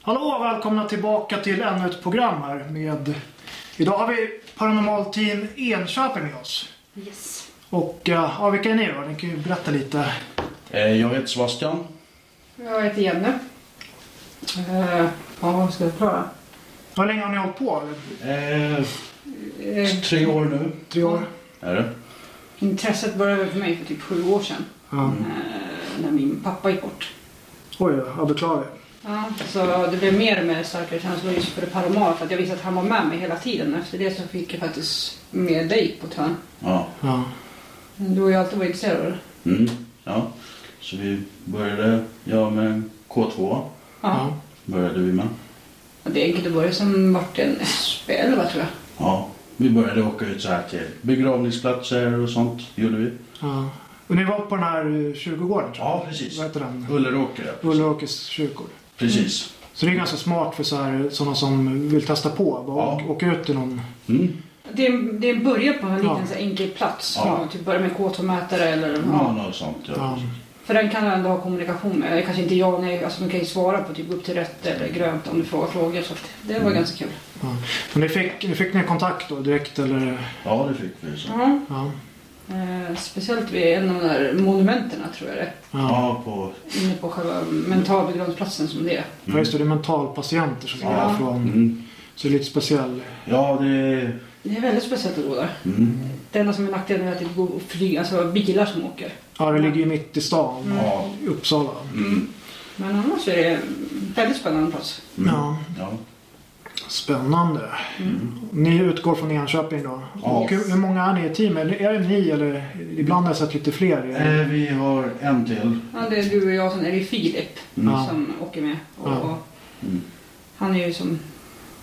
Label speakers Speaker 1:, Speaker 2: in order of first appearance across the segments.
Speaker 1: Hallå och välkomna tillbaka till ännu ett program här med... Idag har vi Paranormal Team Enköping med oss.
Speaker 2: Yes.
Speaker 1: Och eh, ja, vilka är ni då? Ni kan ju berätta lite.
Speaker 3: Eh, Jag heter Sebastian.
Speaker 2: Jag heter Jenny. Uh, ja, vad ska jag förklara?
Speaker 1: Hur länge har ni hållit på?
Speaker 3: Eh,
Speaker 2: Eh,
Speaker 1: Mm.
Speaker 3: Tre år nu.
Speaker 1: Tre år?
Speaker 3: Är det?
Speaker 2: intresset började för mig för typ sju år sedan.
Speaker 1: Ja.
Speaker 2: eh, när min pappa gick bort.
Speaker 1: Mm. Oj, jag beklagar.
Speaker 2: Ja, så det blev mer och mer starkare känslor just för det paranormala för att jag visste att han var med mig hela tiden. Efter det så fick jag faktiskt med dig på törn.
Speaker 3: Ja.
Speaker 1: Ja.
Speaker 2: Du har ju alltid varit intresserad av det.
Speaker 3: Mm. ja. Så vi började, jag med K2
Speaker 2: Ja.
Speaker 3: började vi med.
Speaker 2: Och Det är enkelt att börja som vart en SP11 tror jag.
Speaker 3: Ja. Vi började åka ut så här till begravningsplatser och sånt gjorde vi.
Speaker 1: ja. Och ni var på den här eh, kyrkogården tror jag?
Speaker 3: Ja, precis.
Speaker 1: Vad heter den?
Speaker 3: Ulleråker.
Speaker 1: Ulleråkers kyrkogård.
Speaker 3: Precis.
Speaker 1: Så det är ganska smart för så här, sådana som vill testa på. Bara
Speaker 3: Ja.
Speaker 1: åk- åka ut till någon.
Speaker 3: Mm.
Speaker 2: Det är, en- det är en början på en liten
Speaker 1: Ja.
Speaker 2: så här enkel plats.
Speaker 3: Ja.
Speaker 2: Ja. Typ börja med K2-mätare eller
Speaker 3: Ja, något sånt. Ja.
Speaker 1: Ja.
Speaker 2: För den kan jag ändå ha kommunikation med. Eller kanske inte jag, nej, alltså man kan ju svara på typ upp till rätt eller grönt om du frågar frågor. Så att det var
Speaker 3: Mm.
Speaker 2: ganska kul.
Speaker 1: Ja. Men ni fick, ni fick ni kontakt då direkt eller?
Speaker 3: ja, det fick vi. Så.
Speaker 2: Ja.
Speaker 1: Ja.
Speaker 2: Eh, speciellt vid en av de där monumenterna tror jag det är.
Speaker 1: Ja.
Speaker 3: Ja, på...
Speaker 2: Inne på själva mentalbegravningsplatsen som det är.
Speaker 1: ja. Just det, det är mentalpatienter som är
Speaker 3: Ja.
Speaker 1: därifrån.
Speaker 3: Mm.
Speaker 1: Så det är lite speciell.
Speaker 3: Ja, det...
Speaker 2: Det är väldigt speciellt att gå där.
Speaker 3: Mm.
Speaker 2: Det enda som är nackdelen är att det går flyg, alltså bilar som åker.
Speaker 1: Ja, det ligger ju mitt i stan.
Speaker 3: Ja.
Speaker 1: I Uppsala.
Speaker 3: Mm.
Speaker 2: Men annars är det en väldigt spännande plats.
Speaker 3: Mm.
Speaker 1: Ja,
Speaker 3: Ja.
Speaker 1: spännande. Ni utgår från Enköping då.
Speaker 3: Ja.
Speaker 1: Och hur, hur många är ni i teamet? Eller Är det ni eller ibland har jag sett lite fler?
Speaker 3: Eh, vi har en till.
Speaker 2: Ja, det är du och jag, sen är det ju Filip
Speaker 3: Mm.
Speaker 1: Ja.
Speaker 2: som åker med. Och,
Speaker 1: Ja.
Speaker 2: och
Speaker 3: Mm.
Speaker 2: Han är ju som...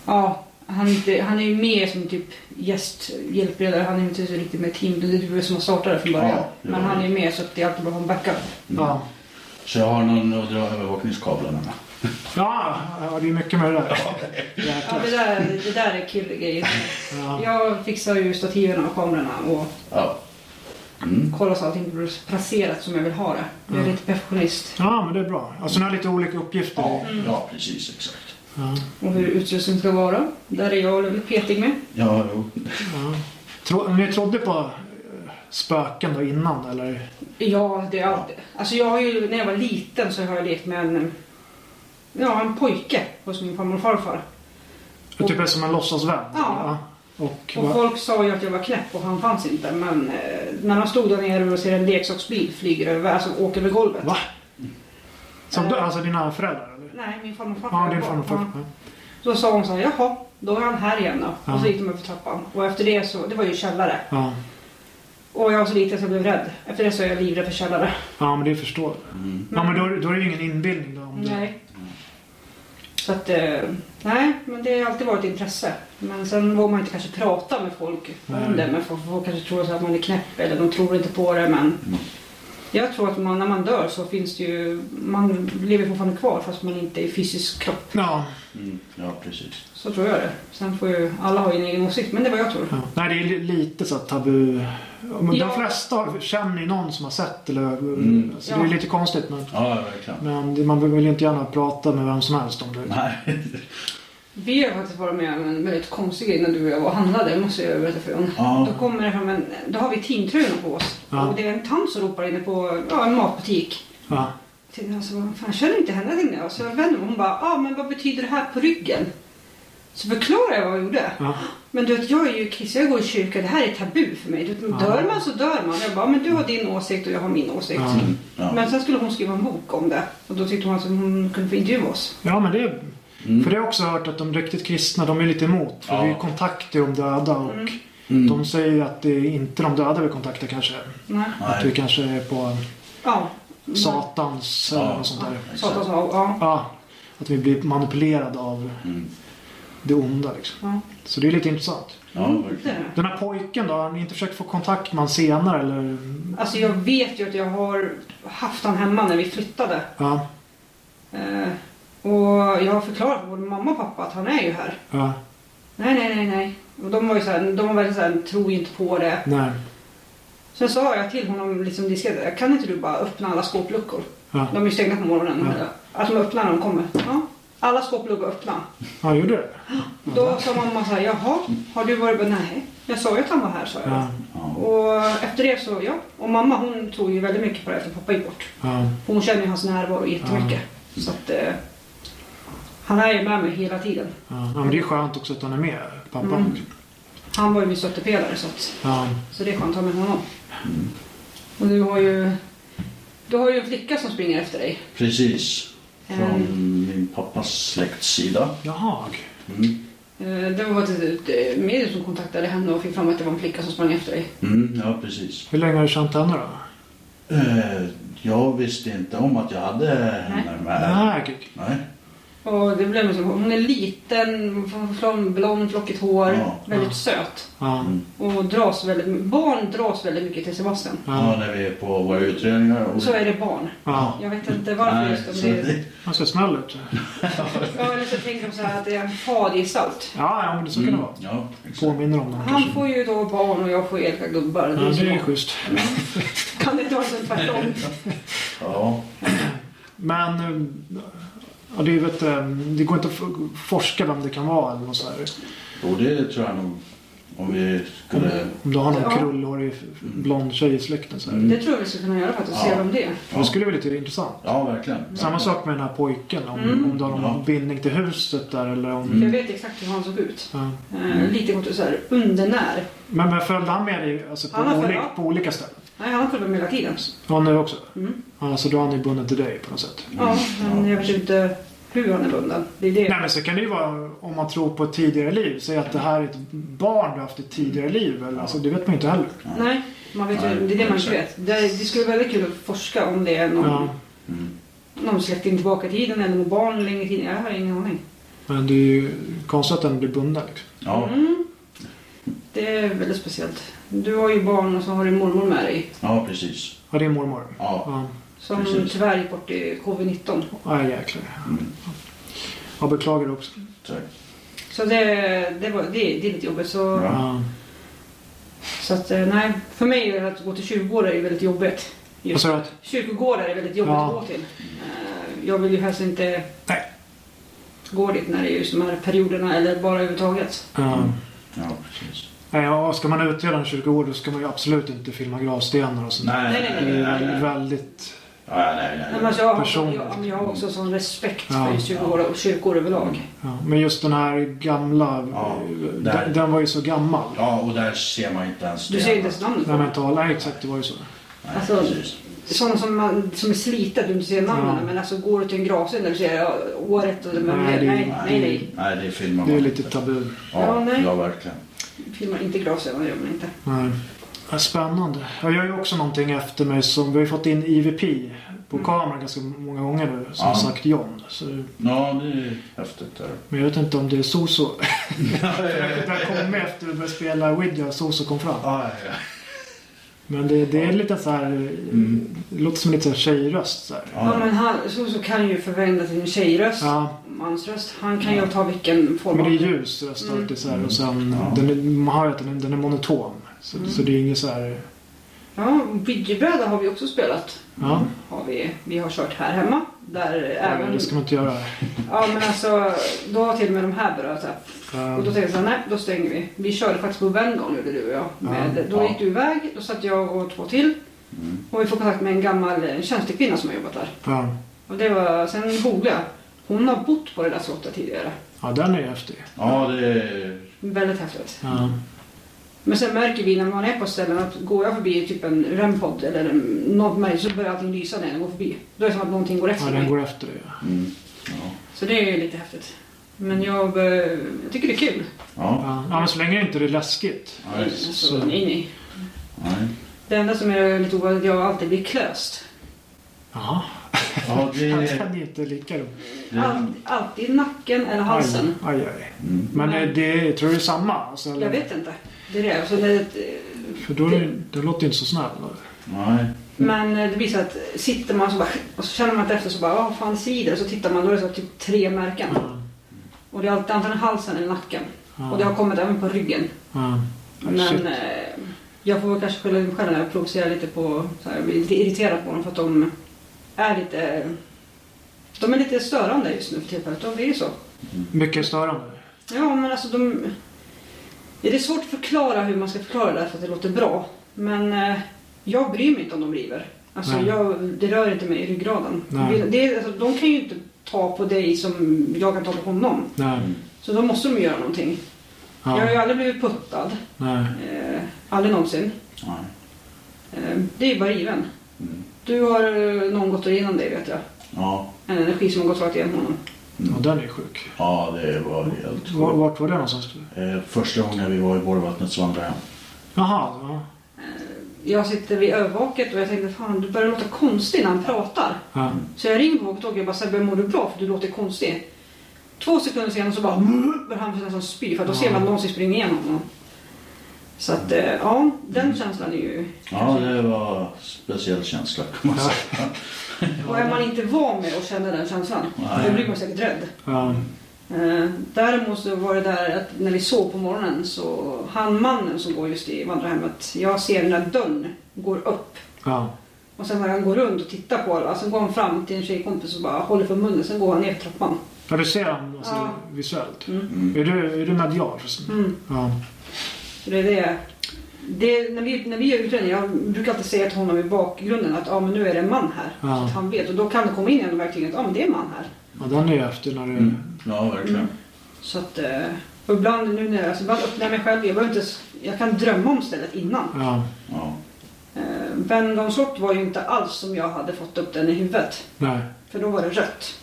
Speaker 2: Ja, han är, inte, han är ju med som typ gästhjälpredare. Han är inte så riktigt med i team. Det är du som har startat det från början.
Speaker 3: Ja, det var
Speaker 2: Men han
Speaker 3: det.
Speaker 2: är med så att det är alltid bra att ha en backup.
Speaker 1: Ja.
Speaker 3: Så jag har någon att dra övervakningskablarna med.
Speaker 1: Ja, ja, det är mycket med det där.
Speaker 2: Ja, det där, det där är killgrejen.
Speaker 1: Ja.
Speaker 2: Jag fixar ju stativen och kamerorna och
Speaker 3: Ja. Mm.
Speaker 2: kollar så att allting blir placerat som jag vill ha det. Jag är
Speaker 1: Mm.
Speaker 2: lite perfektionist.
Speaker 1: ja, men det är bra. Alltså ni har lite olika uppgifter.
Speaker 3: Ja, ja, precis exakt.
Speaker 1: Ja.
Speaker 2: Och hur utrustningen ska vara. Där är jag väldigt petig med.
Speaker 3: Ja, jo.
Speaker 1: Ja. Tro, ni trodde på eh, spöken då innan eller?
Speaker 2: Ja, det är alltid. Alltså jag har ju, när jag var liten så har jag lekt med en, ja, en pojke hos min farmor och farfar.
Speaker 1: Det typ är som en låtsasvän?
Speaker 2: Ja.
Speaker 1: ja. Och,
Speaker 2: Och
Speaker 1: va-
Speaker 2: folk sa ju att jag var knäpp och han fanns inte. Men eh, när han stod där nere och ser en leksaksbil flyger över, alltså åker över golvet. Eh,
Speaker 1: va? Som, du- alltså dina föräldrar eller?
Speaker 2: Nej, min farmor och farfar.
Speaker 1: Ja, din farmor och farfar.
Speaker 2: Ja. Då sa hon så här, jaha, då är han här igen då.
Speaker 1: Ja.
Speaker 2: Och så gick de upp för trappan. Och efter det så, det var ju källare.
Speaker 1: Ja.
Speaker 2: Och jag var så liten så jag blev rädd. Efter det så är jag livrädd för källare.
Speaker 1: ja, men det förstår jag.
Speaker 3: Mm.
Speaker 1: Ja, men då, är- då är det ju ingen inbildning då. Om det.
Speaker 2: Nej. Så att, eh, nej, men det har alltid varit intresse. Men sen vågar man inte kanske prata med folk
Speaker 1: Nej.
Speaker 2: om det. Men folk, folk kanske tror så att man är knäpp eller de tror inte på det. Men
Speaker 3: Mm.
Speaker 2: jag tror att man, när man dör så finns det ju, man lever fortfarande kvar fast man inte är i fysisk kropp.
Speaker 1: Ja.
Speaker 3: Mm. Ja, precis.
Speaker 2: Så tror jag det. Sen får ju alla ha en egen åsikt, men det är vad jag tror.
Speaker 1: ja. Nej, det är li- lite så här tabu. Ja, Men De
Speaker 2: Ja.
Speaker 1: flesta känner ju någon som har sett eller...
Speaker 3: Mm.
Speaker 1: Så det är
Speaker 2: Ja.
Speaker 1: lite konstigt men...
Speaker 3: Ja, verkligen.
Speaker 1: Men det- man vill ju inte gärna prata med vem som helst om det.
Speaker 3: Nej.
Speaker 2: Vi har faktiskt varit med om en väldigt konstig grej när du och jag var och handlade, det måste jag berätta för dig om.
Speaker 3: Ja.
Speaker 2: Då kommer det fram en, då har vi teamtröjorna på oss.
Speaker 1: Ja.
Speaker 2: Och det är en tant som ropar inne på ja, en matbutik.
Speaker 1: Ja.
Speaker 2: Jag tänkte, Alltså, vad fan, jag känner inte henne tänkte jag. Så jag vände mig och hon bara, ja ah, men vad betyder det här på ryggen? Så förklarade jag vad jag gjorde.
Speaker 1: Ja.
Speaker 2: Men du vet, jag är ju kristen, jag går i kyrka, det här är tabu för mig. Du vet, men
Speaker 1: Ja.
Speaker 2: dör man så dör man. Jag bara, "Ah, men du har din åsikt och jag har min åsikt.
Speaker 1: Ja.
Speaker 3: Mm. Ja.
Speaker 2: Men sen skulle hon skriva en bok om det. Och då tyckte hon att hon kunde få intervjua oss.
Speaker 1: ja, men det... är-
Speaker 3: Mm.
Speaker 1: För det har jag också hört att de riktigt kristna, de är lite emot. För
Speaker 3: Ja.
Speaker 1: vi kontaktar ju de döda och
Speaker 2: Mm.
Speaker 3: Mm.
Speaker 1: de säger ju att det är inte de döda vi kontaktar kanske.
Speaker 2: Nej.
Speaker 1: Att vi
Speaker 3: Nej.
Speaker 1: kanske är på
Speaker 2: Ja.
Speaker 1: Satans eller
Speaker 3: Ja.
Speaker 1: något sånt där.
Speaker 2: Satan
Speaker 3: Exakt.
Speaker 2: sa, ja.
Speaker 1: Ja, att vi blir manipulerade av
Speaker 3: Mm.
Speaker 1: det onda liksom.
Speaker 2: Ja. Mm,
Speaker 1: Så det är lite intressant.
Speaker 3: Ja, verkligen.
Speaker 1: Den här pojken då, har ni inte försökt få kontakt med honom senare eller?
Speaker 2: Alltså jag vet ju att jag har haft han hemma när vi flyttade.
Speaker 1: Ja,
Speaker 2: Eh, och jag har förklarat för både mamma och pappa att han är ju här.
Speaker 1: ja,
Speaker 2: Nej, nej, nej, nej. Och de var ju såhär, de var väldigt såhär, tro inte på det.
Speaker 1: nej.
Speaker 2: Sen sa jag till honom liksom diskret, kan inte du bara öppna alla skåpluckor?
Speaker 1: Ja,
Speaker 2: De är ju stängda på morgonen.
Speaker 1: Ja.
Speaker 2: Att de öppnar när de kommer. Ja. Alla skåp låg öppna.
Speaker 1: Ja, gjorde det?
Speaker 2: Då sa mamma så här, jaha, har du varit på... Nej, jag sa ju att han var här, sa jag.
Speaker 1: Ja.
Speaker 3: Ja.
Speaker 2: Och efter det så, ja. Och mamma hon tror ju väldigt mycket på det efter pappa gick bort.
Speaker 1: ja.
Speaker 2: Hon känner ju hans närvaro jättemycket. Så att eh, han är ju med mig hela tiden.
Speaker 1: Ja, men det är skönt också att han är med, pappa.
Speaker 2: Mm. Han var ju min stöttepelare så, att,
Speaker 1: Ja.
Speaker 2: så det är skönt att ha med honom. Och du har ju, du har ju en flicka som springer efter dig.
Speaker 3: Precis. Från
Speaker 2: Mm.
Speaker 3: min pappas släkts sida.
Speaker 1: Jaha.
Speaker 3: Mm.
Speaker 2: Eh, Det var ett, ett medium som kontaktade henne och fick fram att det var en flicka som sprang efter dig.
Speaker 3: Mm, ja, precis.
Speaker 1: Hur länge har du känt henne då?
Speaker 3: Eh, jag visste inte om att jag hade henne med.
Speaker 1: Nej.
Speaker 3: Nej.
Speaker 2: Och det blev liksom, hon är liten, från blond, lockigt hår,
Speaker 3: Ja.
Speaker 2: väldigt
Speaker 1: Ja.
Speaker 2: söt.
Speaker 1: Ja.
Speaker 3: Mm.
Speaker 2: Och dras väldigt, barn dras väldigt mycket till Sebastian.
Speaker 3: Ja,
Speaker 1: Ja.
Speaker 3: när vi är på våra utredningar. Och...
Speaker 2: Så är det barn.
Speaker 1: ja.
Speaker 2: Jag vet inte varför
Speaker 3: Nej,
Speaker 2: just om
Speaker 3: så
Speaker 2: det är...
Speaker 3: det-
Speaker 1: Han ser snäll ut.
Speaker 2: Ja, eller så tänker de så här att det är en fadersalt.
Speaker 1: Ja, ja men det så kan det
Speaker 3: Mm,
Speaker 1: vara.
Speaker 3: ja, exakt.
Speaker 1: Påminner om någon
Speaker 2: Han
Speaker 1: kanske.
Speaker 2: får ju då barn och jag får elaka gubbar.
Speaker 1: Ja,
Speaker 2: Det är så
Speaker 1: det är
Speaker 2: bra.
Speaker 1: schysst.
Speaker 2: Kan det inte vara så tvärtom?
Speaker 3: Ja.
Speaker 1: Men eh, ja, det, är, vet, eh, det går inte att f- forska vem det kan vara eller något så här.
Speaker 3: Och det tror jag nog. Om vi skulle...
Speaker 1: Om du har någon
Speaker 2: Ja.
Speaker 1: krullhårig blond tjej i släkten så här.
Speaker 3: Mm.
Speaker 2: Det tror jag vi skulle kunna göra faktiskt, se
Speaker 3: Ja.
Speaker 2: vem det är.
Speaker 1: Det skulle bli lite intressant.
Speaker 3: Ja, verkligen.
Speaker 1: Samma sak med den här pojken. Om,
Speaker 2: Mm.
Speaker 1: om du har någon
Speaker 3: Ja.
Speaker 1: bindning till huset där eller om...
Speaker 2: För
Speaker 3: Mm.
Speaker 2: jag vet exakt hur han såg ut.
Speaker 1: Ja.
Speaker 2: Eh,
Speaker 3: Mm.
Speaker 2: Lite kort så här undernär.
Speaker 1: Men, men följde han med dig alltså, på,
Speaker 2: Han har följt-
Speaker 1: olika,
Speaker 2: ja.
Speaker 1: på olika ställen?
Speaker 2: Nej, han följde med hela tiden.
Speaker 1: Ja, nu också?
Speaker 2: Mm.
Speaker 1: Ja, så då är han ju bunden till dig på något sätt?
Speaker 2: Ja,
Speaker 3: Mm.
Speaker 2: men jag vet ju inte hur han är bunden. Det är det.
Speaker 1: Nej men så kan det ju vara om man tror på ett tidigare liv. Säg att det här är ett barn du haft i ett tidigare liv. Eller,
Speaker 3: Ja.
Speaker 1: alltså, det vet man ju inte heller.
Speaker 2: Nej, man vet ju,
Speaker 3: Nej,
Speaker 2: det är det man inte
Speaker 3: exakt.
Speaker 2: vet. Det, det skulle vara väldigt kul att forska om det är någon,
Speaker 1: Ja,
Speaker 3: Mm.
Speaker 2: någon släkting tillbaka i tiden eller något barn längre i tiden. Jag har ingen aning.
Speaker 1: men det är ju konstigt att den blir bunden. Liksom.
Speaker 3: Ja,
Speaker 2: Mm. Det är väldigt speciellt. Du har ju barn och så har du mormor med dig.
Speaker 3: ja, precis.
Speaker 1: Ja, det är mormor.
Speaker 3: Ja.
Speaker 1: Ja,
Speaker 2: Som
Speaker 3: Precis.
Speaker 2: tyvärr gick bort i covid-19.
Speaker 1: ja jäklar.
Speaker 3: Mm.
Speaker 1: Jag beklagar det också.
Speaker 3: Tack.
Speaker 2: Så det, det, var, det, det är lite jobbigt. Så,
Speaker 3: Ja.
Speaker 1: Ja.
Speaker 2: så att, eh, nej, för mig är det att gå till kyrkogårdar är väldigt jobbigt.
Speaker 1: Vad
Speaker 2: Just.
Speaker 1: sa du? att-
Speaker 2: Kyrkogårdar är väldigt jobbigt
Speaker 1: Ja.
Speaker 2: att gå till. Eh, Jag vill ju helst inte
Speaker 1: Nej.
Speaker 2: gå dit när det är just de här perioderna eller bara överhuvudtaget.
Speaker 1: Ja.
Speaker 3: Mm. Ja, precis.
Speaker 1: Nej, ja, ska man utreda en kyrkogård då ska man ju absolut inte filma gravstenar och sånt.
Speaker 2: Nej,
Speaker 3: Nej,
Speaker 2: nej,
Speaker 1: Det
Speaker 2: nej,
Speaker 1: är väldigt...
Speaker 3: Ja, nej, nej,
Speaker 2: Nej, men
Speaker 3: nej.
Speaker 2: alltså jag, har,
Speaker 1: Personligt.
Speaker 2: jag, men jag har också sån respekt
Speaker 1: Ja.
Speaker 2: för just kyrkogårdar och kyrkor överlag.
Speaker 1: Ja. Men just den här gamla... eh,
Speaker 3: Ja, där.
Speaker 1: den, den var ju så gammal.
Speaker 3: Ja, och där ser man inte ens
Speaker 2: Du ser inte ens namnet på
Speaker 1: Den
Speaker 2: dem.
Speaker 1: mentala, nej, exakt det var ju så.
Speaker 3: Nej,
Speaker 2: Alltså-
Speaker 3: precis.
Speaker 2: Sådana som, man, som är slitna, du inte ser namnen,
Speaker 1: Ja.
Speaker 2: men alltså går du till en gravsten där du ser ja, året och det, men,
Speaker 1: Nej,
Speaker 2: nej,
Speaker 1: det-
Speaker 2: nej, nej,
Speaker 3: Nej, det filmar man
Speaker 1: Det är
Speaker 3: inte.
Speaker 1: lite tabu.
Speaker 2: Ja,
Speaker 3: Ja,
Speaker 2: nej.
Speaker 3: ja, verkligen.
Speaker 2: Filmar inte gravstenar, gör man inte.
Speaker 1: Nej. Ja, Spännande. Jag gör ju också någonting efter mig som... Vi har ju fått in IVP på
Speaker 3: Mm.
Speaker 1: kameran ganska många gånger nu. Som
Speaker 3: Ja.
Speaker 1: sagt John. Så,
Speaker 3: Ja, det är häftigt. Där.
Speaker 1: men jag vet inte om det är Soso. Den kom med efter vi började spela Widja och Soso kom fram.
Speaker 3: Ja, ja,
Speaker 1: Men det, det är lite så här... Det låter som en lite så här tjejröst. Så här.
Speaker 2: Ja,
Speaker 3: ja.
Speaker 2: men han, så, så kan ju förvända till en tjejröst,
Speaker 1: Ja,
Speaker 2: mansröst. Han kan ju ta vilken form
Speaker 1: men det är
Speaker 2: av...
Speaker 1: ljus röst
Speaker 2: Mm.
Speaker 1: alltid så här. Och sen,
Speaker 3: Ja.
Speaker 1: den är, man hör ju att den är, den är monoton. Så,
Speaker 2: Mm.
Speaker 1: så det är inget så här...
Speaker 2: Ja, videobräda har vi också spelat.
Speaker 1: Ja,
Speaker 2: Har vi, vi har kört här hemma. Där även...
Speaker 1: det ska man inte göra.
Speaker 2: Ja, men alltså, då har till och med de här berört så här.
Speaker 1: Ja.
Speaker 2: Och då tänkte jag såhär, nej då stänger vi. Vi körde faktiskt på Vendon gjorde du och jag. Med,
Speaker 1: Ja,
Speaker 2: då
Speaker 3: ja.
Speaker 2: gick du iväg, då satt jag och två till.
Speaker 3: Mm.
Speaker 2: Och vi får kontakt med en gammal eh, tjänstekvinna som har jobbat där.
Speaker 1: Ja.
Speaker 2: Och det var, sen googlade jag. Hon har bott på det där slottet tidigare.
Speaker 1: ja, den är häftig.
Speaker 3: ja, det är...
Speaker 2: Väldigt häftigt.
Speaker 1: Ja.
Speaker 2: Men sen märker vi när man är på ställen att går jag förbi typ en rempodd eller en- något märke så börjar allting lysa när jag går förbi. Då är det som att någonting går efter
Speaker 1: Ja, den
Speaker 2: mig.
Speaker 1: går efter dig. Ja.
Speaker 3: Mm. Ja.
Speaker 2: Så det är lite häftigt. Men jag, eh, jag tycker det är kul.
Speaker 3: Ja.
Speaker 1: Ja. ja, men så länge inte det är läskigt.
Speaker 3: Ja, visst.
Speaker 2: Alltså,
Speaker 1: så-
Speaker 2: nej, nej.
Speaker 3: Nej.
Speaker 2: Det enda som är lite ovanligt är att jag alltid blir klöst.
Speaker 1: Jaha.
Speaker 3: Ja, det
Speaker 1: Ja,
Speaker 3: är...
Speaker 1: Den är inte lika rolig.
Speaker 3: det-
Speaker 2: Allt, alltid nacken eller halsen.
Speaker 1: Aj, aj, aj.
Speaker 3: Mm.
Speaker 1: Men
Speaker 2: Nej.
Speaker 1: eh, det, jag tror det är samma. Alltså, eller-
Speaker 2: Jag vet inte. Det är det. Så det
Speaker 1: För då är det, det låter ju inte så snäll.
Speaker 3: Nej.
Speaker 2: men eh, det blir så att sitter man så bara, och så känner man inte efter så bara, vad fan sidor? Och så tittar man, då är det så typ tre märken.
Speaker 1: Ja.
Speaker 2: Och det är alltid antingen halsen eller nacken.
Speaker 1: Ja.
Speaker 2: Och det har kommit även på ryggen.
Speaker 1: Ja. Ja, Oh, shit.
Speaker 2: Men eh, jag får väl kanske skylla mig själv när jag provocerar lite på, så här, jag blir lite irriterad på dem för att de är lite De är lite störande just nu för tillfället. De är ju så.
Speaker 1: Mycket störande.
Speaker 2: Ja, men alltså de... Det är svårt att förklara hur man ska förklara det här för att det låter bra. Men eh, jag bryr mig inte om de river. Alltså,
Speaker 1: Nej.
Speaker 2: jag, det rör inte mig i ryggraden.
Speaker 1: Nej.
Speaker 2: Det- Det, är- alltså, de kan ju inte ta på dig som jag kan ta på honom.
Speaker 1: Nej.
Speaker 2: Så då måste de göra någonting. Jag har ju
Speaker 1: Ja.
Speaker 2: aldrig blivit puttad.
Speaker 1: Nej.
Speaker 2: Eh, aldrig någonsin.
Speaker 3: Nej.
Speaker 2: Eh, det är ju bara riven.
Speaker 3: Mm.
Speaker 2: Du har eh, någon gått igenom dig vet jag.
Speaker 3: Ja.
Speaker 2: En energi som har gått rakt igenom honom.
Speaker 1: Och den är sjuk.
Speaker 3: ja, det var helt
Speaker 1: Var-
Speaker 3: sjukt.
Speaker 1: Vart var det någonstans?
Speaker 3: Eh, Första gången vi var i Borgvattnet så vandrade jag hem.
Speaker 1: Jaha, ja.
Speaker 2: Jag sitter vid övervaket och jag tänkte fan du börjar låta konstig när han pratar.
Speaker 1: ja.
Speaker 2: Så jag ringer på walkie-talkie och bara Sebbe mår du bra för du låter konstig. Två sekunder senare så bara börjar han nästan spy för att då ser man att någonsin springer igenom honom. Så att eh, ja,
Speaker 3: Mm.
Speaker 2: den känslan är ju...
Speaker 3: Ja, det var en speciell känsla kan man
Speaker 1: Ja.
Speaker 3: säga.
Speaker 2: Och är man inte van med att känna den känslan,
Speaker 3: Nej.
Speaker 2: då blir man säkert rädd.
Speaker 1: ja.
Speaker 2: Eh, Däremot så var det där att när vi sov på morgonen så han mannen som går just i vandrarhemmet, jag ser när dörren går upp
Speaker 1: ja.
Speaker 2: och sen när han går runt och tittar på alla, sen går han fram till en tjejkompis och bara håller för munnen, sen går han ner för trappan.
Speaker 1: ja du ser den alltså,
Speaker 2: Ja.
Speaker 1: visuellt.
Speaker 2: Mm.
Speaker 3: Mm.
Speaker 1: Är du, är du medial? förresten?
Speaker 2: Mm.
Speaker 1: Ja.
Speaker 2: Så det är det. det när, vi, när vi gör utredning, jag brukar alltid säga till honom i bakgrunden att ah, men nu är det en man här.
Speaker 1: Ja.
Speaker 2: Så att han vet och då kan det komma in en och verkligen att ah, men det är en man här.
Speaker 1: ja. Den är ju efter när du...
Speaker 3: Mm. Ja, verkligen.
Speaker 2: Så att, eh, och ibland nu när jag, alltså, ibland öppnar jag mig själv, jag, behöver inte, s- jag kan drömma om stället innan.
Speaker 1: Ja.
Speaker 3: Ja.
Speaker 2: Eh, Vendons slott var ju inte alls som jag hade fått upp den i huvudet.
Speaker 1: Nej.
Speaker 2: För då var det rött.